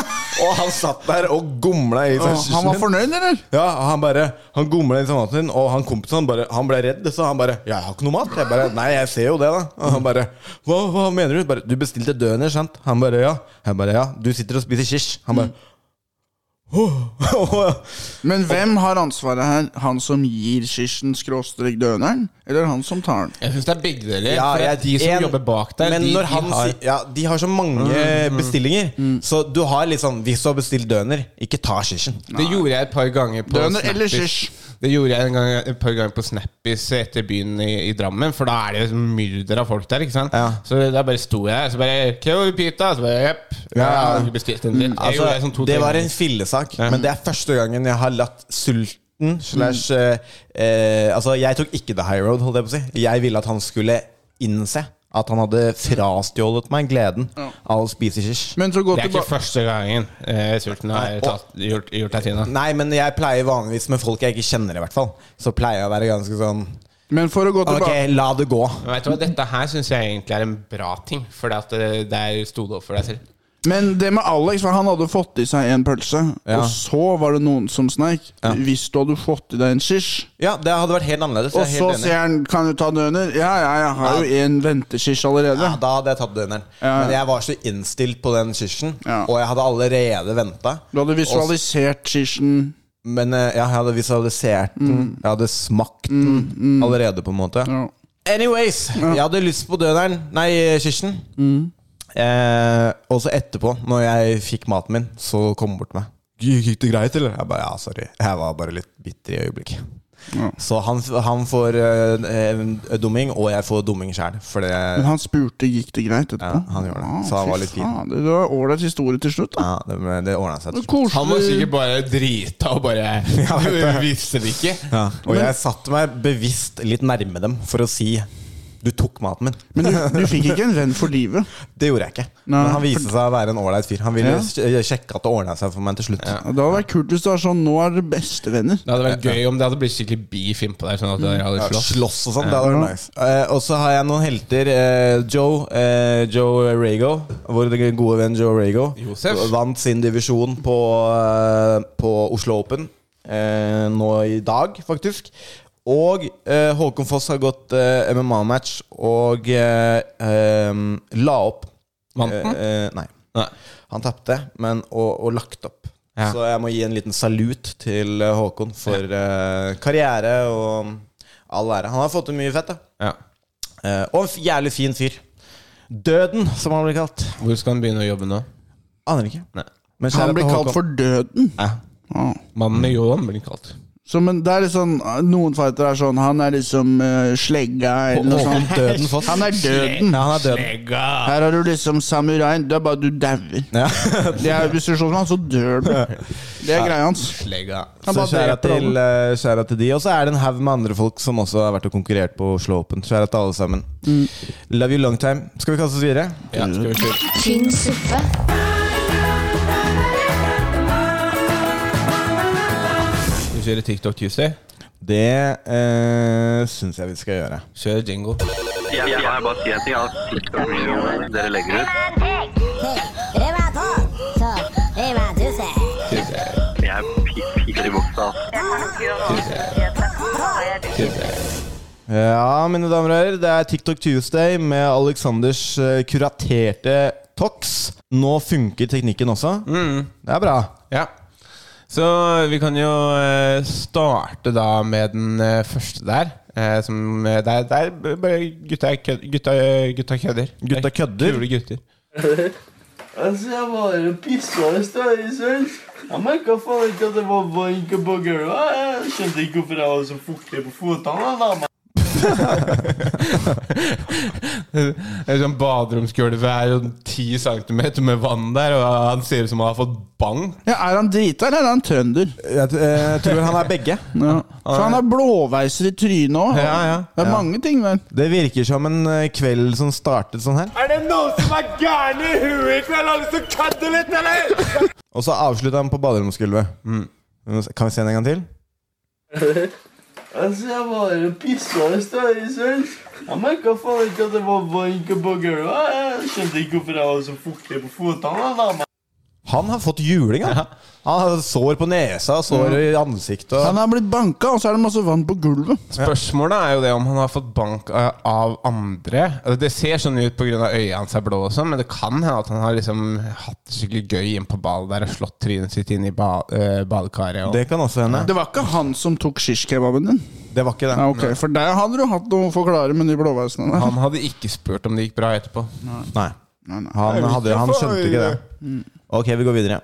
Og han satt der og gomla Å, i seg han var skisjen. fornøyd, eller? Ja, han bare Han gomla i maten sin, og han kompisen han bare Han ble redd, så han bare 'Jeg har ikke noe mat.' Jeg bare 'Nei, jeg ser jo det', da. Og han bare 'Hva, hva mener du?' Bare, 'Du bestilte døner, sant?' Han bare 'Ja'. Jeg bare 'Ja, du sitter og spiser kirsj'. Han bare «Åh». Men hvem har ansvaret her? Han som gir skisjen skråstrek døneren, eller han som tar den? Jeg syns det er begge deler. Ja, for det jeg- er de som en- jobber bak der, Men de, når de han har Mm, sier Ja, de har så mange bestillinger. Så du har litt sånn Hvis du har bestilt døner, ikke ta kirsen. Det gjorde jeg et par ganger på Døner eller Snappis. shish? Det gjorde jeg en gang, et par ganger på Snappis etter byen i, i Drammen, for da er det jo myrder av folk der. ikke sant? Ja. Så da bare sto jeg der, så bare Keo pita, så bare jepp. Ja. Jeg bestilte en til. Jeg Altså, gjorde det sånn to det var en fillesak, men det er første gangen jeg har latt sulten slash Mm. eh, eh, Altså, jeg tok ikke the high road, holdt jeg på å si. Jeg ville at han skulle innse at han hadde frastjålet meg gleden av å spise kirsj. Men så gå Det er ikke tilbake første gangen eh, sulten har Nei, og- tatt, gjort, gjort deg tina. Nei, men jeg pleier vanligvis med folk jeg ikke kjenner, i hvert fall. Så pleier jeg å være ganske sånn Men for å gå Ok, tilbake la det gå. Men vet du hva, dette her syns jeg egentlig er en bra ting, for det at eh, der sto du opp for deg selv. Men det med Alex, for han hadde fått i seg en pølse, Ja. og så var det noen som sneik. Hvis du hadde fått i deg en skish, Ja, det hadde vært helt annerledes. og Jeg er så helt enig. sier han 'kan du ta døner'? Ja, ja, jeg har jo en venteskish allerede. Ja, da hadde jeg tatt døneren. Ja. Men jeg var så innstilt på den kirsen, Ja. og jeg hadde allerede venta. Du hadde visualisert skishen. Men eh, ja, jeg hadde visualisert den. Jeg hadde smakt den allerede, på en måte. Ja. Anyways, jeg hadde lyst på døderen Nei, kirsten. Eh, og så etterpå, når jeg fikk maten min, så kom hun bort til meg. Gikk det greit, eller? Jeg bare, ja, sorry. Jeg var bare litt bitter i øyeblikket. Så han, han får eh, eh, dumming, og jeg får dumming sjæl. For det Men han spurte gikk det greit etterpå. Ja, han gjorde det. Ah, Så han fy var litt fin. faen, Det var ålreit historie til slutt. da ja, det, det ordna seg. til slutt. Koselig. Han var sikkert bare drita og bare visste det ikke. Og jeg satte meg bevisst litt nærme dem for å si Du tok maten min. Men du, du fikk ikke en venn for livet. Det gjorde jeg ikke. Nei, Men han viste for- seg å være en ålreit fyr. Han ville Ja. sj- sjekke at det ordna seg for meg til slutt. Det hadde vært kult hvis det var sånn Nå er dere bestevenner. Det hadde vært gøy om det hadde blitt skikkelig beef innpå der. Sånn at Mm. dere hadde slåss. Slåss og sånn. Det hadde vært nice. Eh, og så har jeg noen helter. eh, Joe eh, Joe Rago, vår gode venn Joe Rago, Josef. vant sin divisjon på, eh, på Oslo Open eh, nå i dag, faktisk. Og eh, Håkon Foss har gått eh, MMA-match og eh, eh, la opp. Vant Eh, den? eh, nei. Nei. Han tapte, men og, og lagt opp. Ja. Så jeg må gi en liten salut til eh, Håkon for eh, karriere og all ære. Han har fått til mye fett, da. Ja. Eh, og en f- jævlig fin fyr. Døden, som han blir kalt. Hvor skal han begynne å jobbe nå? Aner ikke. Nei. Men Han kjære blir til kalt Håkon. for Døden. Ja. Ah. Mannen med ljåen blir kalt. Så, men det er litt sånn Noen fightere er sånn Han er liksom eh, slegga eller noe Håkon sånt. Døden Foss. Han er døden. Ja, han er døden. Her har du liksom samuraien. Det er bare du dauer. Ja. Det er- Hvis du slår sånn, så dør du. Det er greia hans. Slegga. Han Så bare kjære dreper til, alle. eh, kjære til de. Og så er det en haug med andre folk som også har vært og konkurrert på Oslo Open. Kjære til alle sammen. Mm. Love you long time. Skal vi kaste oss videre? Ja, skal vi se. Tynn suppe. Skal vi kjøre TikTok Tuesday? Det eh, syns jeg vi skal gjøre. Kjør jingo. Jeg, jeg, jeg bare sier en ting. Altså, TikTok-videoene dere legger ut Jeg pi- pisser i buksa. Ja, mine damer og herrer, det er TikTok Tuesday med Aleksanders eh, kuraterte talks. Nå funker teknikken også. Mm. Det er bra. Ja. Så vi kan jo eh, starte da med den eh, første der. eh, Som eh, Der, der b- bare gutta, er kødd- gutta, gutta kødder. Gutta kødder? Kule gutter. Altså, jeg bare pissa i stad i søvn. Jeg merka faen ikke at det var vann på gulvet. Jeg skjønte ikke hvorfor jeg var så fuktig på føttene. da, da, men- Det er sånn Baderomsgulvet er jo ti centimeter med vann der, og han ser ut som han har fått bank. Ja, er han drita, eller er han trønder? Jeg, t- eh, jeg tror han er begge. Ja. For han har blåveiser i trynet òg. Ja, ja. Det er mange ting der. Det virker som en eh, kveld som startet sånn her. Er det noen som er gærne i huet i kveld? Har lyst til å kødde litt, eller? Og så avslutta han på baderomsgulvet. Mm. Kan vi se den en gang til? Altså, jeg bare pissa i stad i søvn. Jeg merka faen ikke at det var vann på gulvet. Jeg skjønte ikke hvorfor jeg var så fuktig på føttene. da, da, men- Han har fått juling, han. Han har sår på nesa, sår i ansiktet. Han Og... har blitt banka, og så er det masse vann på gulvet. Spørsmålet er jo det om han har fått bank eh, av andre. Altså, Det ser sånn ut pga. øya hans er blå og sånn, men det kan hende at han har liksom hatt det skikkelig gøy inn på ballet der og slått trynet sitt inn i ba eh, badekaret. Og... Det kan også hende. Det var ikke han som tok shishkebaben din? Det var ikke det. Ja, ok, For der hadde du hatt noe å forklare med de blåveisene der. Han hadde ikke spurt om det gikk bra etterpå. Nei. Han, hadde, han skjønte ikke det. Mm. Ok, vi går videre.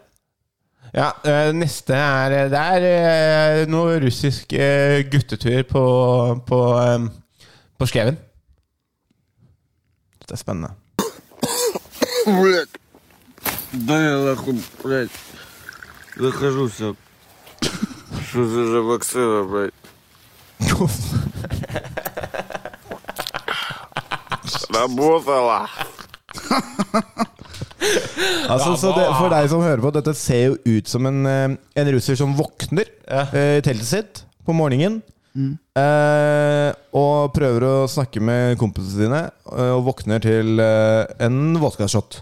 Ja, eh, Neste er eh, Det er eh, noe russisk eh, guttetur på, på, eh, på skauen. Det er spennende. Блядь. Да я нахуй, блядь. Захожу все. Что за жабоксыра, блядь? Работала. Altså, så det, for deg som hører på, dette ser jo ut som en, eh, en russer som våkner eh, i teltet sitt på morgenen. eh, og prøver å snakke med kompisene dine, eh, og våkner til eh, en vodkashot.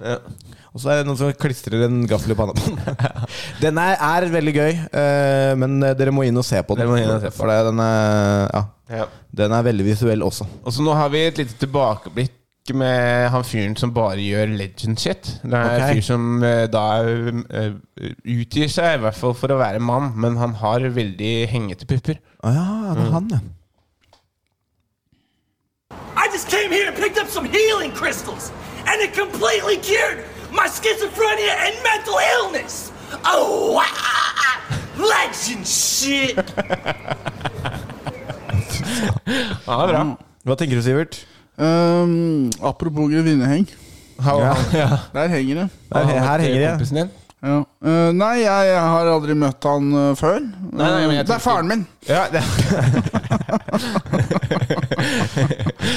Og så er det noen som klistrer en gaffel i panna på den. Den er, er veldig gøy, eh, men eh, dere må inn og se på den. Dere må inn og se på For det, den, er, ja, Ja. den er veldig visuell også. Og så nå har vi et lite tilbakeblikk med han fyren som bare gjør legend shit. Det er Ok. en fyr som eh, da eh, utgir seg, i hvert fall for å være mann, men han har veldig hengete pupper. Å ja, det er han, ja. I just came here and picked up some healing crystals, and it completely cured my schizophrenia and mental illness. Oh, ah, legend shit. Ja, det er bra. Hva tenker du, Sivert? Ehm, apropos grevinneheng. Har, Ja. Der henger det. Her, her henger jeg. kompisen din? Ja. Eh, nei, jeg, jeg har aldri møtt han eh, før. Eh, nei, men jeg det er tenker- faren min! Ja, det.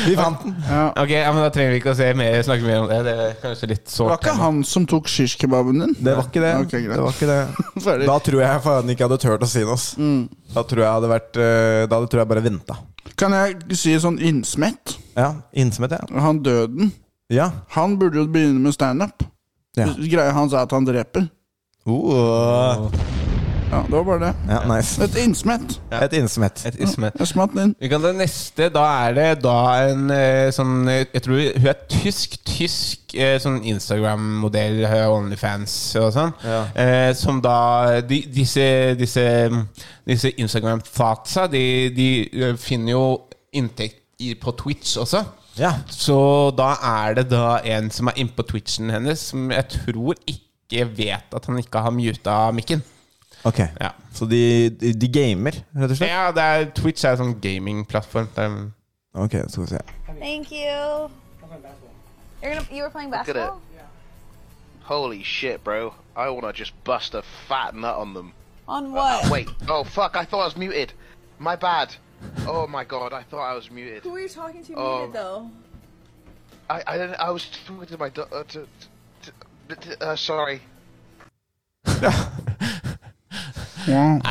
Vi fant den. Ok, ja, men Da trenger vi ikke å se mer, snakke mer om det. Det er kanskje litt Det var sårt. ikke han som tok shishkebaben din? Det var ikke det. Ok, greit. det, var ikke det. Ferdig. Da tror jeg faen ikke jeg hadde turt å si noe. ass. Mm. Da tror jeg hadde vært eh, Da hadde tror jeg bare venta. Kan jeg si sånn innsmett? Ja, innsomhet, ja. Han døden. ja. Han burde jo begynne med standup. Ja. Greia hans er at han dreper. Oh. Uh, Ja, Det var bare det. ja nice. Et innsmett. Et innsomhet. Et isme. Jeg smatt den inn. Vi kan ta neste. Da er det da en eh, sånn eh, Jeg tror hun er tysk. Tysk eh, sånn Instagram-modell, eh, Onlyfans og sånn. Eh, som da de, Disse, disse, disse Instagram-fatsa, de, de eh, finner jo inntekt i, på Twitch også. Ja. Så da er det da en som er inne på Twitchen hennes, som jeg tror ikke vet at han ikke har muta mikken. Ok. Ja. Så de, de, de gamer, rett og slett? Ja, det er, Twitch er en sånn gamingplattform. Det er- Ok, skal vi se. Thank you. You're gonna, you were playing basketball? Holy shit, bro. I wanna just bust a fat nut on them. On Uh, wait. Oh, fuck. I thought I was muted. My bad. Oh, my God. I thought I was muted. Who were you talking to Oh. muted though? I, I didn't. I was talking to my. do- Uh, to, to, but, uh, sorry.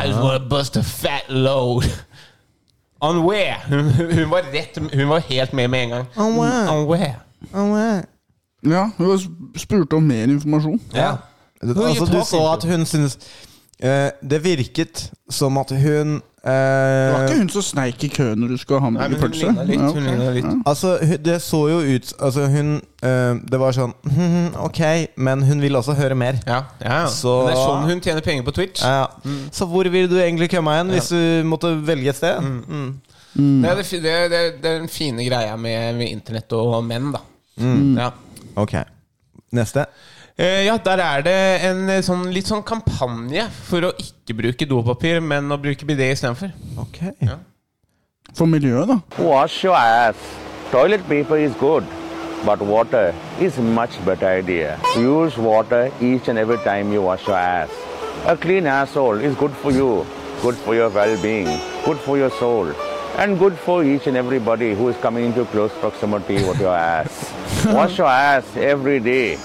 I just wanna bust a fat load. On where? Hun, hun, var rett, hun var helt med med en gang. On where? On where? Oh, Ja, hun sp- spurte om mer informasjon. Ja. Who you Altså, du talking så at hun syntes eh, Det virket som at hun Det var eh, ikke hun som sneik i køen når du skulle ha hamburgerpølse. Ja, ok. Altså, hun- det så jo ut Altså, hun eh, Det var sånn «Mhm, Ok, men hun ville også høre mer. Ja, ja. ja. Så- Men Det er sånn hun tjener penger på Twitch. Ja. Mm. Så hvor ville du egentlig komme hen hvis du måtte velge et sted? Mm. Det, er det, fi- det, er- det, er- det er den fine greia med, med internett og menn, da. Ja. Ok. Neste. Eh, ja, der er det en eh, sånn, litt sånn kampanje for å ikke bruke dopapir, men å bruke bidé istedenfor. Ok. For miljøet, da. Wash your ass. Toilet paper is good, but water is much better idea. Use water each and every time you wash your ass. A clean asshole is good for you, good for your well-being, good for your soul, and good for each and everybody who is coming into close proximity with your ass. Wash your ass every day.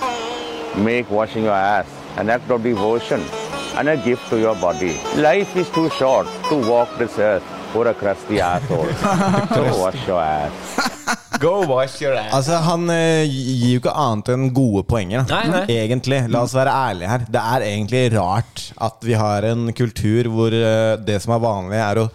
Make washing your ass an act of devotion and a gift to your body. Life is too short to walk this earth for a crusty asshole. so wash your ass. Go wash your ass. Altså, han eh, gir jo ikke annet enn gode poenger, da. Nei, nei. Egentlig. La oss være ærlige her. Det er egentlig rart at vi har en kultur hvor eh, det som er vanlig, er å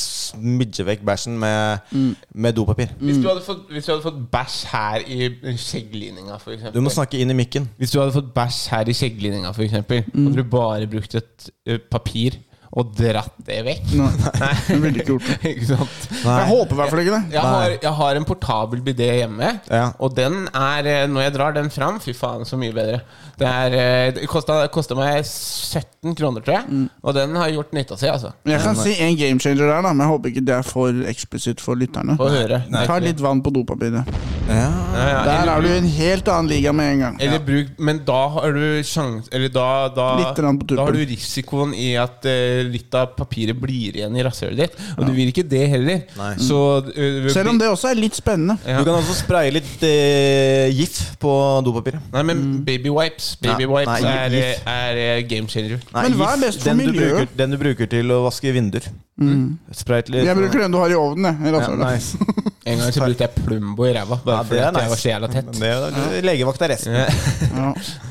smidge vekk bæsjen med, med dopapir. Hvis, du hadde fått, hvis du hadde fått bæsj her i skjegglinninga, for eksempel Du må snakke inn i mikken. Hvis du hadde fått bæsj her i skjegglinninga, f.eks., eksempel Mm. hadde du bare brukt et ø, papir og dratt det vekk. Nei, jeg ville ikke gjort det. ikke sant? Jeg håper i hvert fall ikke det. Jeg har, jeg har en portabel bidé hjemme, Ja. og den er ø, Når jeg drar den fram, fy faen, så mye bedre. Det, er, ø, det kosta det kosta meg 17 kroner, tror jeg, Mm. og den har gjort nytta si, altså. Jeg kan si en game changer der, da, men jeg håper ikke det er for eksplisitt for lytterne. Få høre. Ta litt vann på dopapiret. Ja, ja, Der er eller, du i en helt annen liga med en gang. eller bruk, men da har du sjans... Eller da, da, Litt grann på tuppen. da har du risikoen i at ø, litt av papiret blir igjen i rasshølet ditt. Og du vil ikke det heller. Så eh, ø, Mm. Selv om det også er litt spennende. Ja. Du kan også spraye litt eh, GIF på dopapiret. Nei, men Mm. baby wipes Baby Ja, wipes nei, er, eh, gif. er, game changer. Nei, Men hva er GIF, best for den du miljøet? Mm. bruker- Den du bruker til å vaske vinduer. Spray litt Jeg bruker den du har i ovnen. jeg, i ja, rasshølet. nice. En gang så brukte jeg Plumbo i ræva. Bare Ja, fordi det er at jeg var så nice. jævla tett. Det er jo- Legevakt er resten. Ja.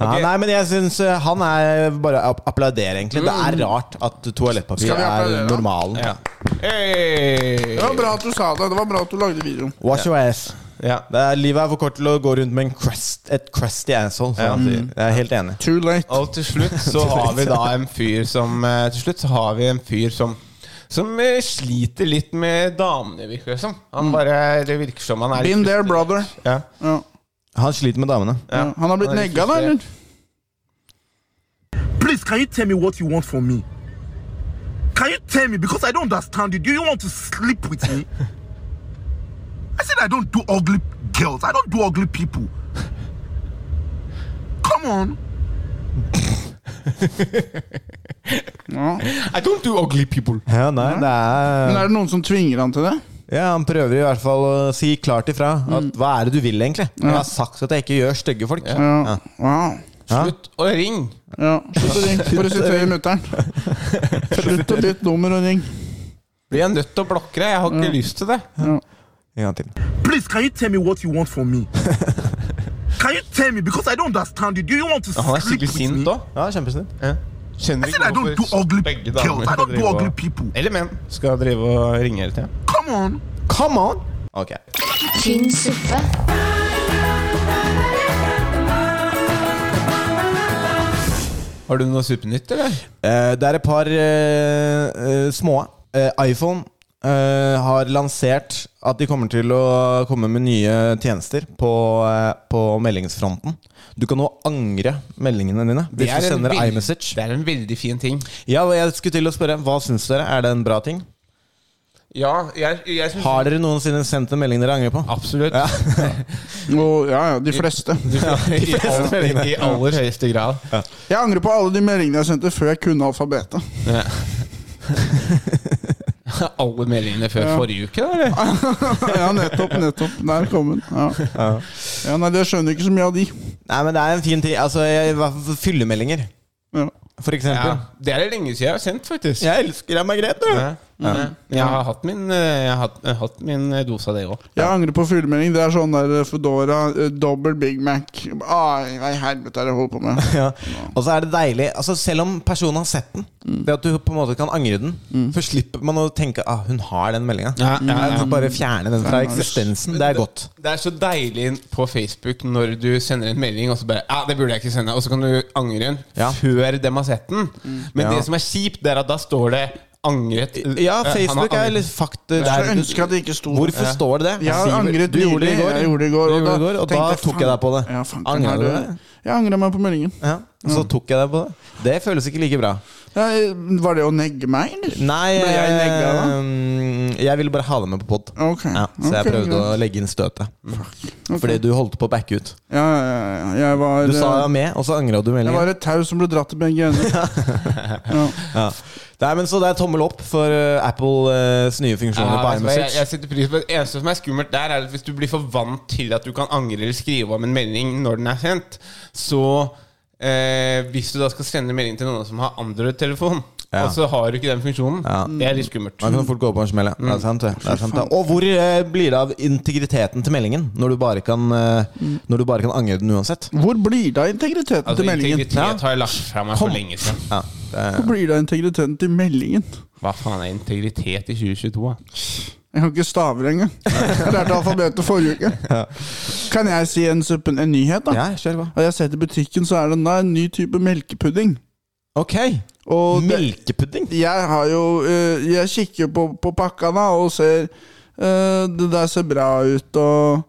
Ja, nei, men jeg syns han er bare å applaudere, egentlig. Det er rart at toalettpapir Mm. Skal vi er applaudere, da? normalen. Ja. Hey! Det var bra at du sa det. Det var bra at du lagde videoen. Wash your ass. Ja. Det er, livet er for kort til å gå rundt med en crust, et crusty asshole. Som han sier. Jeg er helt enig. Too late. Og til slutt så har vi da en fyr som eh, Til slutt så har vi en fyr som som eh, sliter litt med damene, virker det som. Han bare, det virker som han er Been there, brother. Ja. Ja. Han sliter med damene. Ja. Han har blitt Han er litt negga, da, eller? Please, can you tell me what you want from me? Can you tell me? Because I don't understand it. Do you want to sleep with me? I said I don't do ugly girls. I don't do ugly people. Come on. Ja. I don't do ugly people. Ja, nei, det Men er er det noen som tvinger han til det? Ja, Han prøver i hvert fall å si klart ifra. At, hva er det du vil, egentlig? Jeg har sagt at jeg ikke gjør stygge folk. Mm. Ja. Ja. Slutt å ringe! Ja, slutt å ringe. For å sitere mutter'n. Slutt å bytte nummer og ring. Blir jeg nødt til å blokke deg? Jeg har ikke lyst til det. En gang til. Please, can you tell me what you want from me? can you tell me? Because I don't understand you. Do you want to Han er sleep with sikkert me? sint òg. Ja, kjempesnitt. I Skjønner said I ikke don't do hvorfor ugly begge girls. I damer don't do driver ugly og- people. Eller menn skal drive og ringe hele tida. Come on. Come on! Ok. Tynn suppe. Har du noe supernytt, eller? Eh, det er et par eh, eh, små. Eh, iPhone eh, har lansert at de kommer til å komme med nye tjenester på, eh, på meldingsfronten. Du kan nå angre meldingene dine hvis du sender veld- iMessage. det er en veldig fin ting. Ja, og jeg skulle til å spørre, hva syns dere? Er det en bra ting? Ja, jeg, jeg synes Har dere noensinne sendt en melding dere angrer på? Absolutt. Ja. Og, ja, ja, de fleste. Ja, i, De fleste all, meldingene. I aller høyeste grad. Jeg angrer på alle de meldingene jeg sendte før jeg kunne alfabetet. Ja. Alle meldingene før Ja. forrige uke, da, eller? ja, nettopp. nettopp Der kom den. Ja. Ja, nei, det skjønner ikke så mye av de. Nei, men det er en fin ting. Altså, jeg, hva- fyllemeldinger, Ja. for Ja. eksempel. Det er det lenge siden jeg har sendt, faktisk. Jeg elsker deg, Margrethe! Ja. Ja. Jeg har hatt min, eh, jeg har hatt, jeg har hatt min eh, dose av det òg. Jeg angrer på fuglemelding. Det er sånn der Foodora, eh, dobbel Big Mac Ai, Hva i helvete er det jeg holder på med? Ja. Og så er det deilig altså Selv om personen har sett den, det at du på en måte kan angre den, så slipper man å tenke ah, hun har den meldinga. Ja, ja, ja. Bare fjerne den fra eksistensen. Det er godt. Det er så deilig på Facebook når du sender en melding, og så bare Ja, det burde jeg ikke sende. Og så kan du angre den Ja. før dem har sett den. Men Ja. det som er kjipt, det er at da står det 'angret'. eh, Ja, han har Facebook er angret. litt fakta Jeg skulle der. ønske at det ikke sto Hvorfor står det det? Jeg har Siver, angret du gjorde det i nylig. går. Jeg gjorde det i går. Du gjorde det i går, og da tenkte jeg, tok jeg deg på det. Ja, fanken, Angrer har du du det? det? Mm. Jeg angrer meg på meldingen. Ja. Og så tok jeg deg på det. Det føles ikke like bra. Ja, var det å negge meg, eller? Nei, Ble jeg negga da? eh, jeg ville bare ha deg med på pod. Ok. Ja, så jeg Ok, prøvde greit. å legge inn støtet. Fordi du holdt på å backe ut. Ja, ja, ja, ja. Jeg var, Du sa ja med, og så angra du eh, jeg meldinga. var et tau som ble dratt i begge ender. Ja. Nei, men så det er tommel opp for eh, Apples nye funksjoner Ja, på altså, jeg, iMessage. jeg setter pris på Det eneste som er skummelt der, er at hvis du blir for vant til at du kan angre eller skrive om en melding når den er sendt, så eh, Hvis du da skal sende melding til noen som har Android-telefon, Ja. og så har du ikke den funksjonen, det er litt skummelt. Da kan fort gå på en smell, ja. Det Mm. er sant, det. det, er sant, det. Og hvor eh, blir det av integriteten til meldingen når du bare kan, eh, Mm. når du bare kan angre den uansett? Hvor blir det av integriteten Altså, til meldingen? integritet har jeg lagt fra meg for lenge siden. Ja, det er, Hvor blir det av integriteten til meldingen? Hva faen er integritet i 2022? da? Jeg kan ikke staver engang. Jeg lærte alfabetet forrige uke. Kan jeg si en, suppen, en nyhet, da? ja, kjør, hva. Har jeg sett i butikken, så er det da en ny type melkepudding. Ok. Og det, Melkepudding? jeg har jo eh, Jeg kikker på, på pakka da og ser eh, Det der ser bra ut, og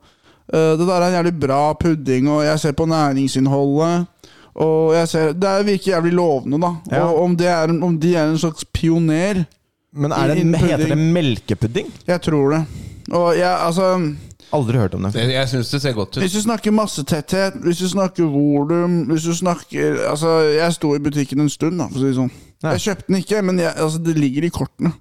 eh, det der er en jævlig bra pudding, og jeg ser på næringsinnholdet. Og jeg ser, Det virker jævlig lovende, da. Ja. Og om, det er, en- om de er en slags pioner Men er det, Inn- heter det pudding. melkepudding? Jeg tror det. Og jeg, altså Aldri hørt om det. Det- Jeg syns det ser godt ut. Hvis du snakker massetetthet, hvis du snakker volum Hvis du snakker Altså, jeg sto i butikken en stund, da, for å si det sånn. Nei. Jeg kjøpte den ikke, men jeg, altså, det ligger i kortene.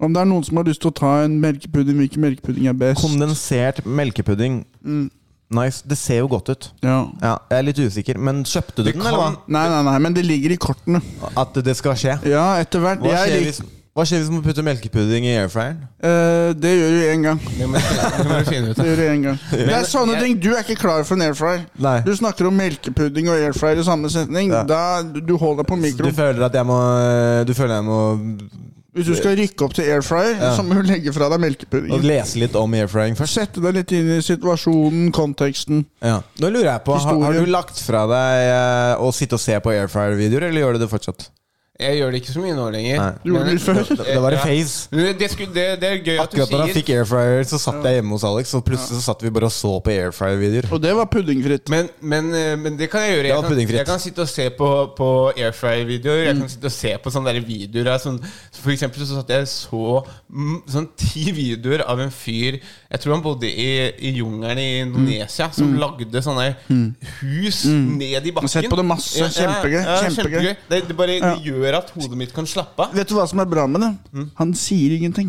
Om det er noen som har lyst til å ta en melkepudding, hvilken melkepudding er best? Kondensert melkepudding. Mm. Nice. Det ser jo godt ut. Ja. Ja, jeg er litt usikker, men kjøpte du den, eller hva? Nei, nei, nei, men det ligger i kortene. At det skal skje? Ja, etter hvert. Hva Jeg skjer lik- hvis, hva skjer hvis man putter melkepudding i airfryeren? Eh, det gjør du én gang. Det må du det må du finne ut Det av. gjør du én gang. Det er sånne ting du er ikke klar for en airfryer. Nei. Du snakker om melkepudding og airfryer i samme setning. Ja. Da, du holder deg på Du mikroen. føler at jeg må Du føler jeg må Hvis du skal rykke opp til airfryer, så må du legge fra deg melkepuddingen. lese litt om airfrying først? Sette deg litt inn i situasjonen, konteksten. Ja. Nå lurer jeg på, har, har Historien. du lagt fra deg eh, å sitte og se på airfryer-videoer, eller gjør du det fortsatt? Jeg gjør det ikke så mye nå lenger. Nei. Du gjorde det litt før. Det var i Ja. Face. Men Det, skulle, det, det er gøy at du Akkurat da jeg sier fikk airfryer, så satt jeg hjemme hos Alex, og plutselig så satt vi bare og så på airfryer-videoer. Og det var puddingfritt. Men, men, eh, men det kan jeg gjøre. Det var Jeg kan, puddingfritt. jeg kan sitte og se på, på airfryer-videoer. Mm. Jeg kan sitte og se på sånne der videoer av sånn, For eksempel så satt jeg og så mm, sånn ti videoer av en fyr Jeg tror han bodde i, i jungelen i Indonesia, Mm. som lagde sånne hus ned i bakken. Sett på det masse. Kjempegøy. Ja, ja, Kjempegøy. Det, det bare det gjør gjør at hodet mitt kan slappe av. Vet du hva som er bra med det? Mm. Han sier ingenting.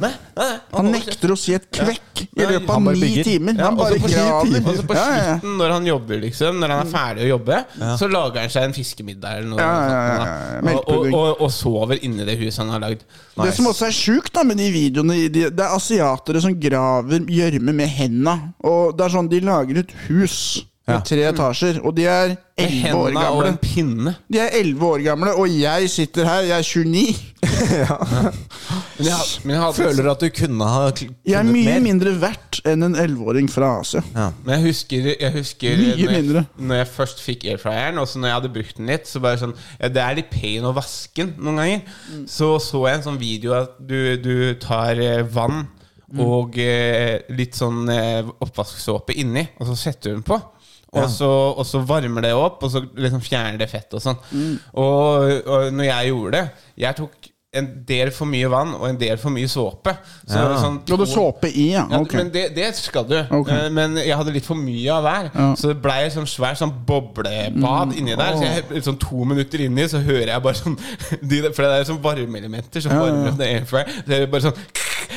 Han nekter å si et kvekk i løpet av ni timer. Ja, og Han så bare på slutten- Og så på graver. Ja, ja. slutten, når han jobber, liksom, når han er ferdig å jobbe, Ja. så lager han seg en fiskemiddag eller noe. Ja, ja, ja, sånt, ja. da. Og, og, og, og sover inni det huset han har lagd. Det som også er sjukt da med de videoene i de, Det er asiatere som graver gjørme med henda. Og det er sånn de lager et hus med tre etasjer, og de er Med elleve år henda og gamle. en pinne. De er 11 år gamle, og jeg sitter her, jeg er 29. Føler du at du kunne ha kl- Jeg er kunnet mye mer? mindre verdt enn en 11-åring fra Asia. Men jeg husker, jeg husker Mye når, jeg, mindre. når jeg først fikk airfryeren, og så når jeg hadde brukt den litt, så bare sånn ja, Det er litt pain å vaske den noen ganger. Mm. Så så jeg en sånn video at du, du tar eh, vann Mm. og eh, litt sånn eh, oppvasksåpe inni, og så setter du den på. Og, Ja. så, og så varmer det opp, og så liksom fjerner det fett og sånn. Mm. Og, og når jeg gjorde det Jeg tok en del for mye vann og en del for mye såpe. Så Ja. det var sånn Ja, du såpe i, ja. Ok. Men det, det skal du. Ok. Eh, Men jeg hadde litt for mye av hver. Ja. Så det blei et sånn svært sånn boblebad Mm, inni der. Så jeg, sånn to minutter inni så hører jeg bare sånn de, der- For det er sånn varmeelementer som Ja, ja, ja. varmer opp det airfryer. Så jeg bare sånn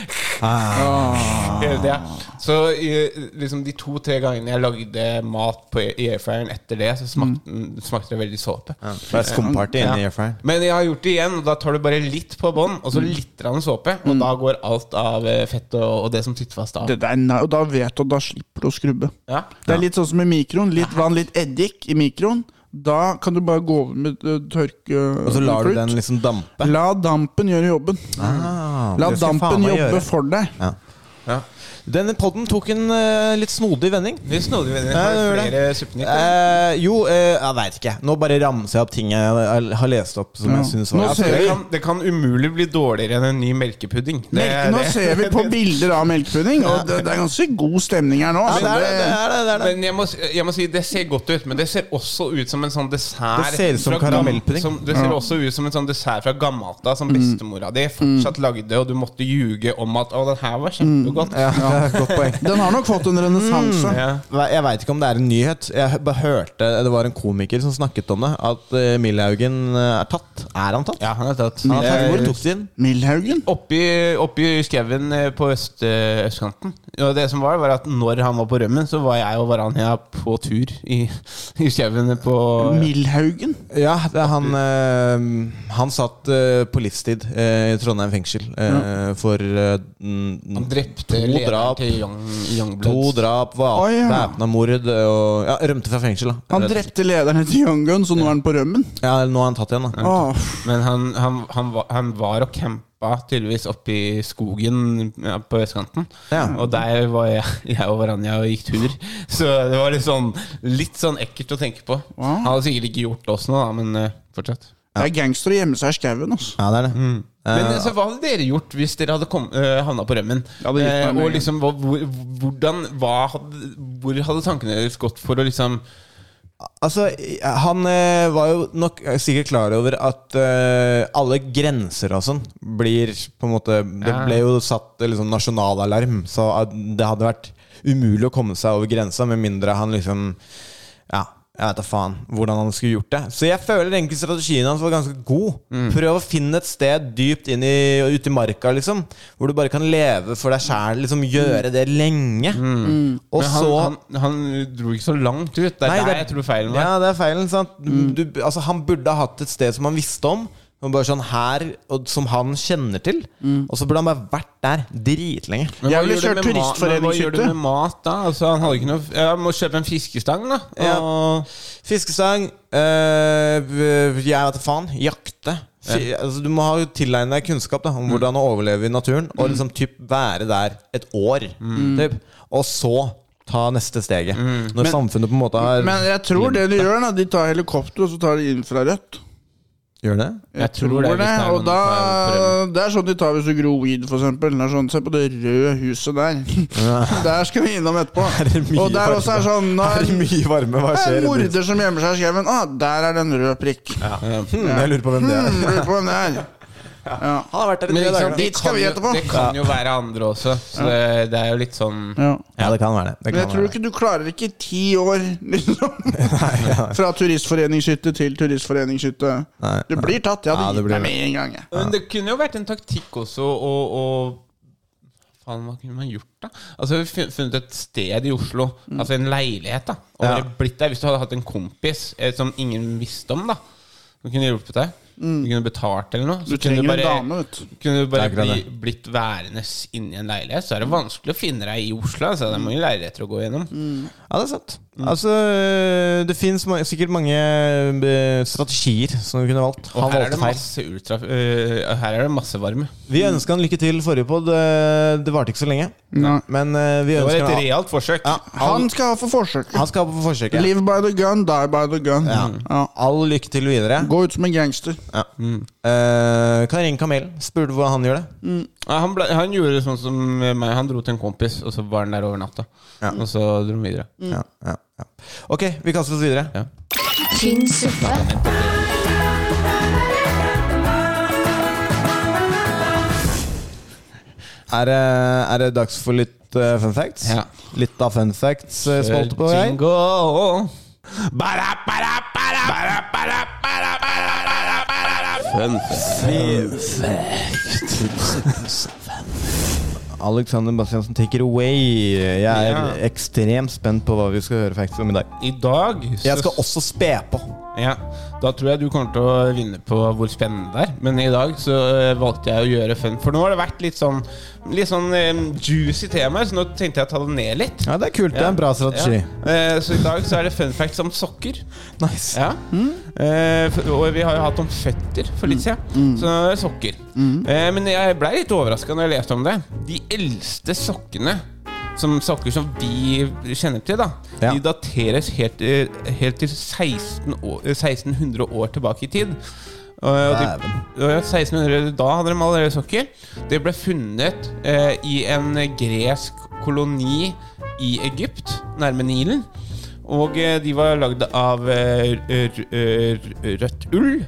Ah. hele tida. Så eh, liksom de to-tre gangene jeg lagde mat på e- i airfryeren etter det, så smakte, Mm. den- smakte det veldig såpe. det er skumparty inni airfryeren. Men jeg har gjort det igjen, og da tar du bare litt på bånn, og så Mm. litt grann såpe. Og da går alt av eh, fett og, og det som sitter fast av. Det der, nei, og da vet du, da slipper du å skrubbe. Ja. Det er litt sånn som i mikroen. Litt vann, litt eddik i mikroen. Da kan du bare gå over med uh, tørke Og så lar du klut. den liksom dampe? La dampen gjøre jobben. Ah, La det skal faen dampen meg jobbe gjøre. for deg. Ja. Denne podden tok en eh, litt snodig vending. Litt snodig vending. Ja, det gjorde Flere det. suppenytt, Eh, jo, eh, jeg veit ikke. Nå bare ramser jeg opp ting jeg jeg har lest opp som jeg syns var Altså, det, kan, det kan umulig bli dårligere enn en ny melkepudding. Det, Melk, nå det- ser vi på bilder av melkepudding, og det, det er ganske god stemning her nå. så Men jeg må, si- jeg må si det ser godt ut, men det ser også ut som en sånn dessert. Det ser ut som fra gam- karamellpudding. som- Det ser Ja. Mm. også ut som en sånn dessert fra gammelt av, som bestemora di fortsatt lagde, og du måtte ljuge om at 'Å, den her var kjempegodt'. Mm. Ja, godt poeng. Den har nok fått en renessanse. Mm, ja. Jeg veit ikke om det er en nyhet. Jeg bare hørte Det var en komiker som snakket om det. At eh, Milhaugen eh, er tatt. Er han tatt? Ja, han er tatt. Han er tatt. Hvor Eh, tok de den? Milhaugen? Oppi, oppi skauen eh, på øst, eh, østkanten. Og det som var, var at når han var på rømmen, så var jeg og Varanja på tur i, i skauen på Milhaugen? Ja, det er han eh, Han satt eh, på livstid eh, i Trondheim fengsel eh, for eh, mm, Han drepte to lederen drap. til Young, Youngbloods. To drap, va- Å, ja. væpna mord eh, og Ja, rømte fra fengsel, da. Han Rett og slett. drepte lederen til Young Gun, så nå er han på rømmen. Ja, nå er han tatt igjen, da. Åh. Men han, han, han, var, han var og campa tydeligvis oppe i skogen ja, på vestkanten. Og der var jeg, jeg og Varanja og gikk tur. Så det var litt sånn, litt sånn ekkelt å tenke på. Han hadde sikkert ikke gjort oss noe, da, men eh, fortsatt. Det er gangster å gjemme seg i skauen, altså. Ja, det er det. Men Eh, altså, Hva hadde dere gjort hvis dere hadde kom, eh, havna på rømmen? det gikk meg Eh, med og en liksom, hva, hvor, hvordan, hva hadde, hvor hadde tankene deres gått for å liksom Altså, han eh, var jo nok eh, sikkert klar over at eh, alle grenser og sånn blir på en måte Det Ja. ble jo satt eh, liksom, nasjonalalarm, så at det hadde vært umulig å komme seg over grensa med mindre han liksom Ja, jeg vet da faen hvordan han skulle gjort det. Så jeg føler egentlig strategien hans var ganske god. Prøv å finne et sted dypt inn i, ute i marka, liksom, hvor du bare kan leve for deg sjæl. Liksom, gjøre det lenge. Og Men han, så han, han dro ikke så langt ut. Det er der jeg tror feilen var. ja, det er feilen. Sant? Du, du, altså, han burde ha hatt et sted som han visste om. Som, bare sånn her, og, som han kjenner til. Og så burde han bare vært der dritlenge. Men hva Jeg ville gjør du kjørt med mat- men Hva gjør du turistforeningshytte. med mat da? Altså, han hadde ikke noe Jeg må kjøpe en fiskestang, da. Ja. Og- Fiskestang eh, v- Jeg vet da faen. Jakte. Fi, altså, du må ha tilegne deg kunnskap da, om hvordan å overleve i naturen. Og liksom typ være der et år. Typ. Og så ta neste steget. Når Men- samfunnet på en måte har Men jeg tror det de gjør, da, de tar helikopter og så tar de infrarødt. Gjør det? Jeg tror det, og da, det er sånn de tar hvis du gror weed, for eksempel. Det er sånn, se på det røde huset der. Der skal vi innom etterpå. mye Og der også er sånn nå Er det mye varme? Hva det er skjer? en i det? morder som gjemmer seg i skauen. Ah, der er det en rød prikk. Hmm, jeg lurer på hvem det er. Hmm, lurer på hvem det er. Ja. Han har vært der i Men tre ikke sant, dager. det kan jo- Det kan jo være andre også, så det, det er jo litt sånn Ja. det kan være det. Men jeg tror ikke du klarer ikke ti år, liksom. Fra turistforeningshytte til turistforeningshytte. Du blir tatt. Jeg Ja, hadde det gitt blir deg med det. en gang. jeg. Men det kunne jo vært en taktikk også å å- Faen, hva kunne man gjort, da? Altså, vi fun- funnet et sted i Oslo, Mm. altså en leilighet, da. Og Ja. bare blitt der hvis du hadde hatt en kompis eh, som ingen visste om, da. Som kunne hjulpet deg. Du kunne betalt eller noe. Mm. Du så kunne trenger en bare- dame, vet du. Kunne du bare Det er bli, akkurat blitt værende inni en leilighet, så er det vanskelig å finne deg i Oslo. Så det er Mm. mange leiligheter å gå gjennom. Ja, det er sant. Altså, det fins ma sikkert mange eh, strategier som du kunne valgt. Og Han her er, valgte det feil. masse ultra, øh, her er det masse varme. Vi ønska han lykke til i forrige pod. Det varte ikke så lenge. Nei. Men eh, vi Det var ønsker et han, realt forsøk. Han skal ha for forsøket. han skal på forsøket. Live by the gun, die by the gun. Ja. All lykke til videre. Gå ut som en gangster. Ja. Mm. Eh, kan ringe Kamelen. Spurte hvordan han gjør det. Ja, han, ble, han gjorde sånn som meg. Han dro til en kompis, og så var han der over natta. Og så dro han videre. Ja, ja, ja. Ok, vi kaster oss videre. tynn suppe, Er, det, er det dags for litt eh, fun facts? Ja. Litt av fun facts eh, spalte på vei? Jingle. Bara, bara, bara, bara, bara, bara, bara, bara, bara. Fun Alexander Bastiansen, take it away. Jeg er Ja. ekstremt spent på hva vi skal høre facts om i dag. I dag så- Jeg skal også spe på. ja, Da tror jeg du kommer til å vinne på hvor spennende det er. Men i dag så eh, valgte jeg å gjøre fun. For nå har det vært litt sånn Litt sånn eh, juicy temaer, så nå tenkte jeg å ta det ned litt. Ja, det er kult. Det er en bra strategi. Ja. Eh, Så i dag så er det fun facts om sokker. Nice. Ja. Eh, for- og vi har jo hatt om føtter for litt siden. Så nå er det sokker. Eh, men jeg ble litt overraska når jeg leste om det. De eldste sokkene som sokker som vi kjenner til, da Ja. de dateres helt, eh, helt til 16 år, eh, 1600 år tilbake i tid. Og, og de, og ja, 1600, da hadde de allerede sokker. Det ble funnet eh, i en gresk koloni i Egypt, nærme Nilen. Og eh, de var lagd av eh, r- r- r- rødt ull.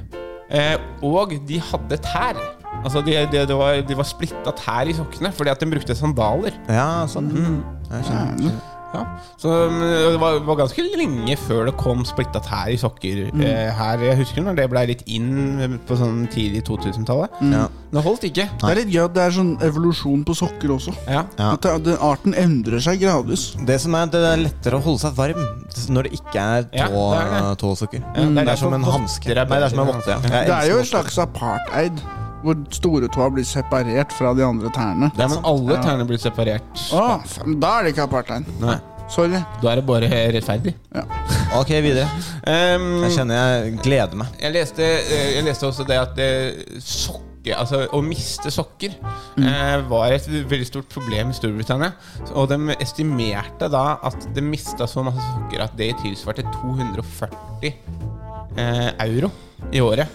Eh, og de hadde tær. Altså de, de, det var, de var splitta tær i sokkene fordi at de brukte sandaler. Ja, sånn. Mm. Jeg skjønner. Ja. Så mm, det var, var ganske lenge før det kom splitta tær i sokker Mm. eh, her. Jeg husker når det blei litt inn på sånn tidlig 2000-tallet. Mm. Ja. Det holdt ikke. Det er litt gøy at det er sånn evolusjon på sokker også. Ja. Ja. At det, det, arten endrer seg gradvis. Det som er, det er lettere å holde seg varm når det ikke er Ja, tå, det er det. tåsokker. Ja, det er det, er derfor som en votter hanske. er Nei, det er som en bedre. votte. Ja. Jeg Det er jo elsker en slags apartheid, hvor stortåa blir separert fra de andre tærne. Ja, men alle Ja. tærne blir separert. Å, men da er det ikke apartheid. Nei. Sorry. Da er det bare rettferdig. votter. Ok, videre. Um, Jeg kjenner jeg gleder meg. Jeg leste, eh, jeg leste også det at eh, sokke Altså Å miste sokker Mm. eh, var et veldig stort problem i Storbritannia. Og de estimerte da at de mista så masse sokker at det tilsvarte 240 eh, euro i året.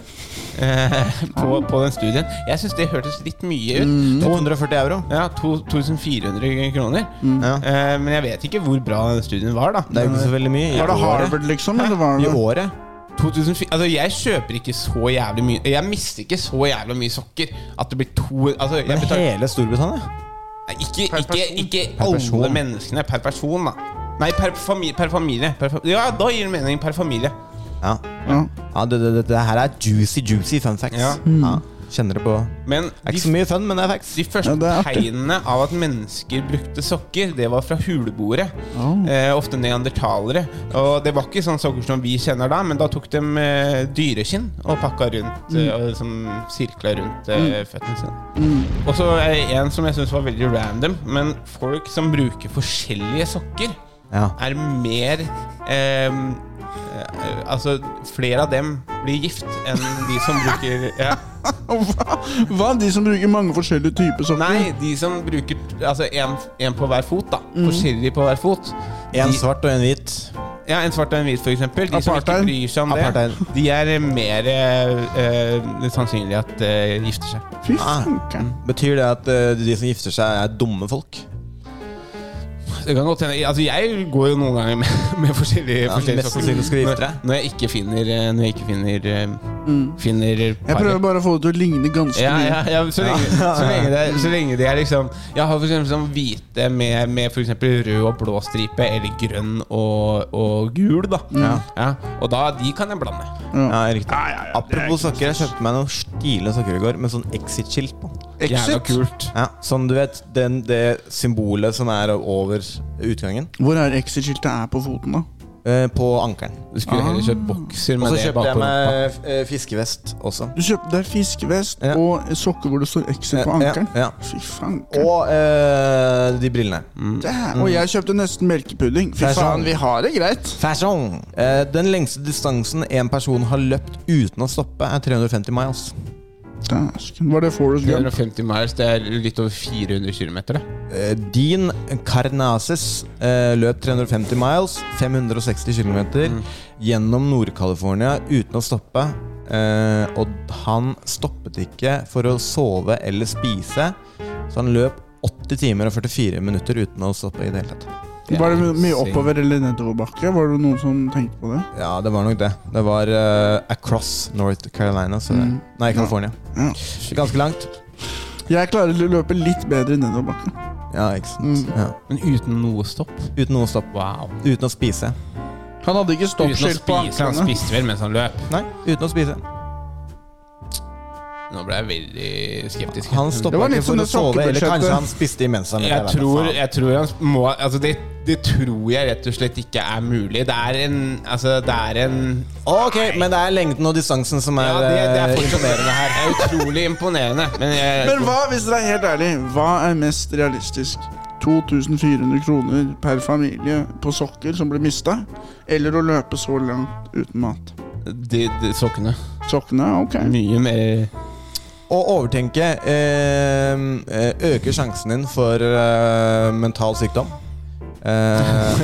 Eh, på, Ah. på den studien. Jeg syns det hørtes litt mye ut. Mm. 240 euro. Ja, to- 2400 kroner. Ja. Eh, men jeg vet ikke hvor bra den studien var, da. Mm. Det er jo ikke så veldig mye. I Var det året. Harvard, liksom? Eller var I det året? 2004, altså jeg kjøper ikke så jævlig mye Jeg mister ikke så jævlig mye sokker At det blir to altså jeg Men betaler, hele Storbritannia? Nei, Ikke, ikke, ikke Per alle person. menneskene per person da Nei, per, fami, per familie per, fa- Ja, da gir det mening per familie Ja. ja det, det, det, det her er juicy, juicy fun facts. Ja. Ja. Kjenner det på Det Men er ikke de, så mye fun, men det er facts. de første Ja, det er artig. tegnene av at mennesker brukte sokker Det var fra huleboere Oh. eh, Ofte neandertalere Og det var ikke sånne sokker som vi kjenner da Men da tok de eh, dyreskinn Og pakka rundt Mm. eh, og liksom Sirkla rundt eh, føttene sine Mm. Og så er det en som jeg syns var veldig random, men folk som bruker forskjellige sokker, Ja. er mer ehm, eh, Altså, flere av dem blir gift enn de som bruker ja. Hva? Hva? De som bruker mange forskjellige typer sokker? Nei, de som bruker Altså en, en på hver fot, da. Forskjellig på hver fot. Mhm. En De- svart og en hvit. Ja, En svart og en hvit, f.eks. De som ikke Apartheid. bryr seg om det, Apartheid. de er eh, mer eh, eh, sannsynlig at eh, gifter seg. Fy Ah. fanken. Betyr det at eh, de som gifter seg, er dumme folk? Det kan godt hende. Altså, jeg går jo noen ganger med, med forskjellige, Ja, forskjellige mest sannsynlig skal du gifte deg. Når, når jeg ikke finner eh, Når jeg ikke finner eh, Mm. Finner Jeg prøver bare å få det til å ligne ganske ja, mye. ja, ja, så, lenge, så, lenge det, er- så lenge det er liksom Jeg har for eksempel sånn hvite med, med for eksempel rød og blå stripe, eller grønn og, og gul, da. Ja. Og da, de kan jeg blande. Ja, riktig. Apropos sokker, jeg kjøpte meg noen stilige sokker i går med sånn Exit-skilt på. Exit? Jævla kult. Ja, sånn du vet, den, det symbolet som er over utgangen. Hvor er exit-skiltet er på foten, da? Eh, på ankelen. Du skulle heller kjøpt bokser Ah. Og så kjøpte jeg meg eh, fiskevest også. Du kjøpte deg fiskevest og sokker hvor det står Exit på Ja, ja, ankelen? ja. Fy faen. Og eh, de brillene. Mm. Dæ- Og jeg kjøpte nesten melkepudding. Fy sånn. faen, vi har det greit. Fashion. Eh, den lengste distansen en person har løpt uten å stoppe, er 350 miles. Dæsken. Var det Forest Gump? 350 miles, det er litt over 400 km. Eh, Dean Carnaces eh, løp 350 miles, 560 km, gjennom Nord-California uten å stoppe. Eh, og han stoppet ikke for å sove eller spise, så han løp 80 timer og 44 minutter uten å stoppe i det hele tatt. Var det mye oppover eller nedoverbakke? Var det noen som tenkte på det? Ja, det var nok det. Det var eh, across North Carolina. Så Mm. Nei, California. Ganske langt. Jeg klarer å løpe litt bedre nedoverbakke. Ja, ikke sant. Ja. Men uten noe stopp? Uten noe stopp. Uten å spise. Han hadde Uten ikke å stoppskilt på spise. Han anklene. spiste vel mens han løp. Nei, uten å spise. Nå ble jeg veldig skeptisk. Han stoppa ikke for å sove, eller kanskje han spiste imens han Jeg tror, jeg tror han må Altså, det, det tror jeg rett og slett ikke er mulig. Det er en Altså, det er en Ok, men det er lengden og distansen som er, Ja, det, det er eh, fortsatt imponerende imponerende her. her. Det er utrolig imponerende. Men, jeg, Men hva, hvis dere er helt ærlig, hva er mest realistisk? 2400 kroner per familie på sokker som ble mista? Eller å løpe så langt uten mat? De, de, sokkene. Sokkene, ok. Mye mer Å overtenke eh, eh, øker sjansen din for eh, mental sykdom. Eh,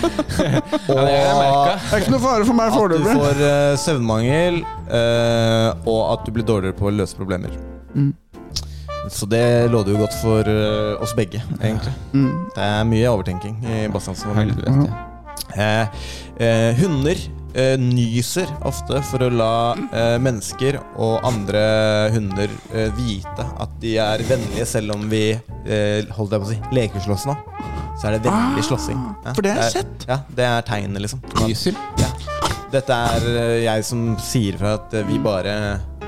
og Det er ikke noe fare for meg at du foreløpig. får eh, søvnmangel, eh, og at du blir dårligere på å løse problemer. Mm. Så det lover jo godt for eh, oss begge, egentlig. Mm. Det er mye overtenking i Bastiansen. Helvete. Eh, eh, hunder eh, nyser ofte for å la eh, mennesker og andre hunder eh, vite at de er vennlige, selv om vi eh, holdt jeg på å si, lekeslåss nå. Så er det vennlig slåssing. Ja, Ah, for det har jeg er- Ja, det er tegnet, liksom. Nyser? Ja. Dette er eh, jeg som sier fra at eh, vi bare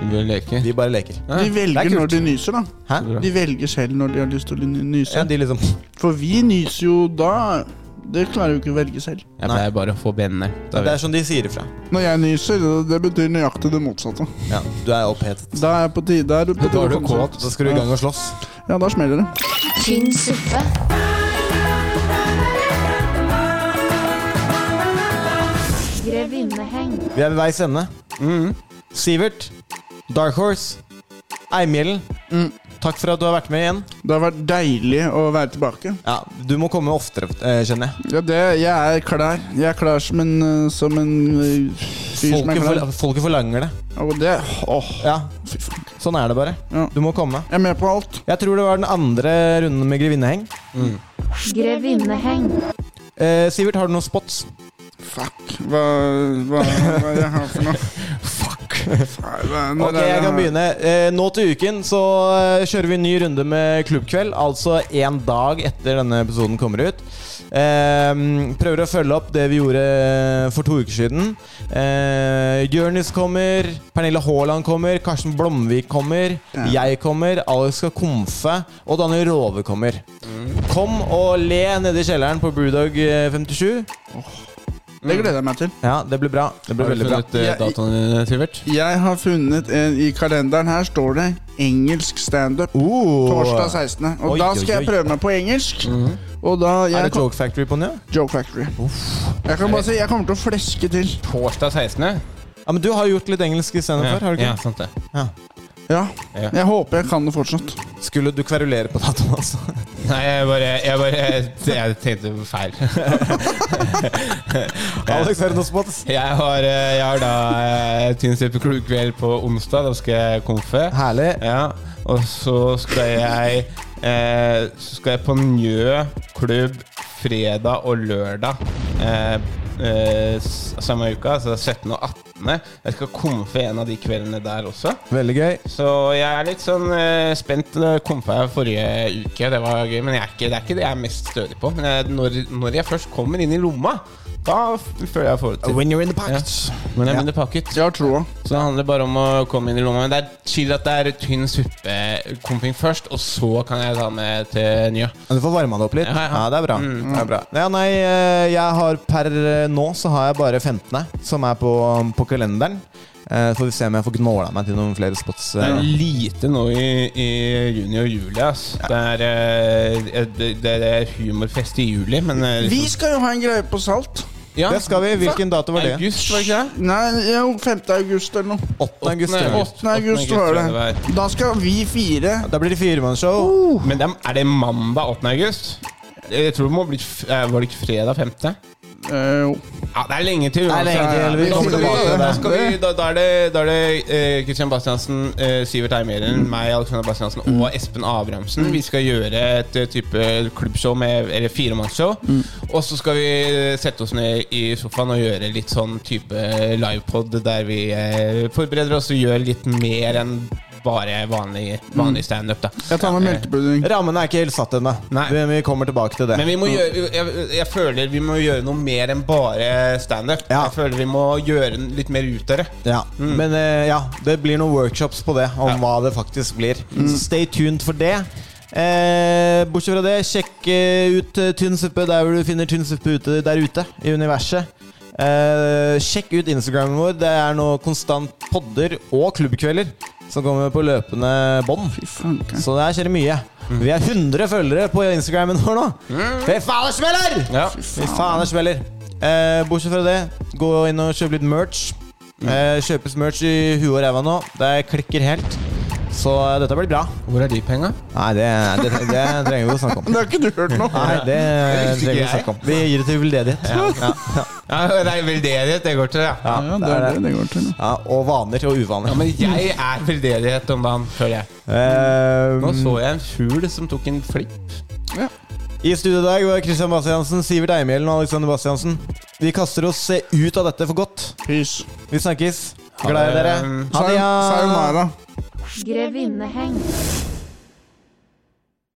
Vi leker. Vi bare leker. De Det er velger kult. når de nyser, da. Hæ? De velger selv når de har lyst til å ny- nyse. Ja, de liksom For vi nyser jo da Det klarer jo ikke å velge selv. Jeg pleier bare å få benene. Da Det vet er sånn de sier ifra. Når jeg nyser, det- det betyr nøyaktig det motsatte. Ja, du er opphetet. Da er jeg på tide der. Da er du kåt, da skal du i gang og slåss. Ja, da smeller det. Tynn suppe. Grevinneheng. Vi er ved veis ende. Mm. Sivert, Dark Horse, Eimhjellen, takk for at du har vært med igjen. Det har vært deilig å være tilbake. Ja, Du må komme oftere, eh, kjenner jeg. Ja, det, jeg er klar. Jeg er klar som en, eh, som en eh, fyr som er Folket, klar. for, folket forlanger det. Og det, åh, Ja, fy faen. Sånn er det bare. Ja. Du må komme. Jeg er med på alt. Jeg tror det var den andre runden med grevinneheng. Grevinneheng. Eh, Sivert, har du noen spots? Fuck. Hva, hva, hva jeg har for noe? Fuck. Ok, jeg kan begynne. Eh, nå til uken så eh, kjører vi en ny runde med klubbkveld. Altså én dag etter denne episoden kommer ut. Eh, prøver å følge opp det vi gjorde for to uker siden. Eh, Jonis kommer, Pernille Haaland kommer, Karsten Blomvik kommer, jeg kommer, Alex skal komfe, og Daniel Rove kommer. Kom og le nede i kjelleren på Brewdog eh, 57. Det gleder jeg meg til. Ja, det blir bra. Det blir Har du veldig bra. funnet eh, Jeg- datoen din, Sivert? Jeg har funnet en, I kalenderen her står det 'engelsk standup'. Oh. Torsdag 16. Og Oi, da oi, skal jeg oi. Mhm. prøve meg på engelsk. Og da Er jeg det Joke Factory på den, ja? Joke Factory. Jeg kan bare si jeg kommer til å fleske til. Torsdag 16. ja? Men du har gjort litt engelsk i scenen Ja, før, har du ikke? ja, sant det. Ja. Ja. Jeg håper jeg kan det fortsatt. Skulle du kverulere på datoen, altså? Nei, jeg bare Jeg, bare, jeg tenkte feil. Alex, er det noe spots? Jeg har, eh, jeg har da eh, Tynn suppe klubbkveld på onsdag. Da skal jeg konfe. Herlig. Ja, og så skal jeg eh, Så skal jeg på Njø klubb fredag og lørdag eh, eh, s- samme uka, altså 17. og 18. Jeg skal komfe en av de kveldene der også. Veldig gøy. Så jeg er litt sånn eh, spent. Det Komfa jeg forrige uke, det var gøy. Men jeg er ikke, det er ikke det jeg er mest stødig på. Men jeg, når, når jeg først kommer inn i lomma, da f- føler jeg forhold til When you're in the pocket. Ja. When I'm in the pocket. Så det handler bare om å komme inn i lomma. Men det er chill at det er tynn suppekomping først, og så kan jeg ta med til Njø. Men Du får varma det opp litt. Ja, det er bra. Mm. Det er bra. Ja, nei, eh, jeg har per eh, nå så har jeg bare 15., som er på, um, på kalenderen. Eh, Får vi se om jeg får gnåla meg til noen flere spots. Det eh. er lite nå i, i juni og juli. Ass. Det, er, eh, det, det er humorfest i juli, men eh, Vi skal jo ha en greie på Salt. Ja. Det skal vi. Hvilken dato var det? August, var det ikke det? Nei, jo, 5. august eller noe. 8. august. tror jeg. 8. august var det. Da skal vi fire. Da blir det firemannsshow. Men dem- er det mandag 8. august? Jeg tror det må bli f- eh, Var det ikke fredag 5.? jo. Ja, det er lenge til. Det er lenge uansett. til, vi Da kommer skal tilbake til vi- det. da skal vi- Da da er det, da er det eh, Christian Bastiansen, eh, Sivert Eimeren, meg, Alexander Bastiansen Mm. og Espen Abrahamsen. Vi skal gjøre et eh, type klubbshow, med, eller firemannsshow. Mm. Og så skal vi eh, sette oss ned i sofaen og gjøre litt sånn type livepod der vi eh, forbereder oss og gjør litt mer enn bare vanlig, Mm. vanlig standup. da. Eh, Rammen er ikke helt satt ennå. Vi, vi kommer tilbake til det. men vi må gjøre, jeg, jeg føler vi må gjøre noe mer enn bare standup. Jeg føler vi må gjøre n- litt mer ut av det. Ja, Men eh, ja, det blir noen workshops på det, om hva det faktisk blir. Så stay tuned for det. Eh, bortsett fra det, sjekk eh, ut eh, Tynn suppe der hvor du finner tynn suppe ute, der ute i universet. Eh, sjekk ut Instagramen vår. Det er nå konstant podder og klubbkvelder som kommer på løpende bånd. Så der skjer det mye. Vi er 100 følgere på Instagramen vår nå. Fy faen, det smeller! Fy faen, det smeller. Eh, bortsett fra det, gå inn og kjøp litt merch. Eh, kjøpes merch i huet og ræva nå. Det klikker helt. Så eh, dette blir bra. Hvor er de penga? Nei, det, det, det trenger vi ikke å snakke om. Det har ikke du hørt noe Nei, det Det visste trenger vi ikke å jeg. snakke om. Vi gir det til veldedighet. Ja. Ja. Ja. Ja, det er veldedighet det går til, ja. Ja, det er det det går til. Ja, og vaner og uvaner. Ja, men jeg er veldedighet om dagen, føler jeg. Ehm, Nå så jeg en fugl som tok en flipp. I studio i dag var Christian Bastiansen, Sivert Eimhjellen og Alexander Bastiansen. Vi kaster oss eh, ut av dette for godt. Vi Ehm, Um, snakkes. Glad i dere. Ha det. ja. Grevinneheng.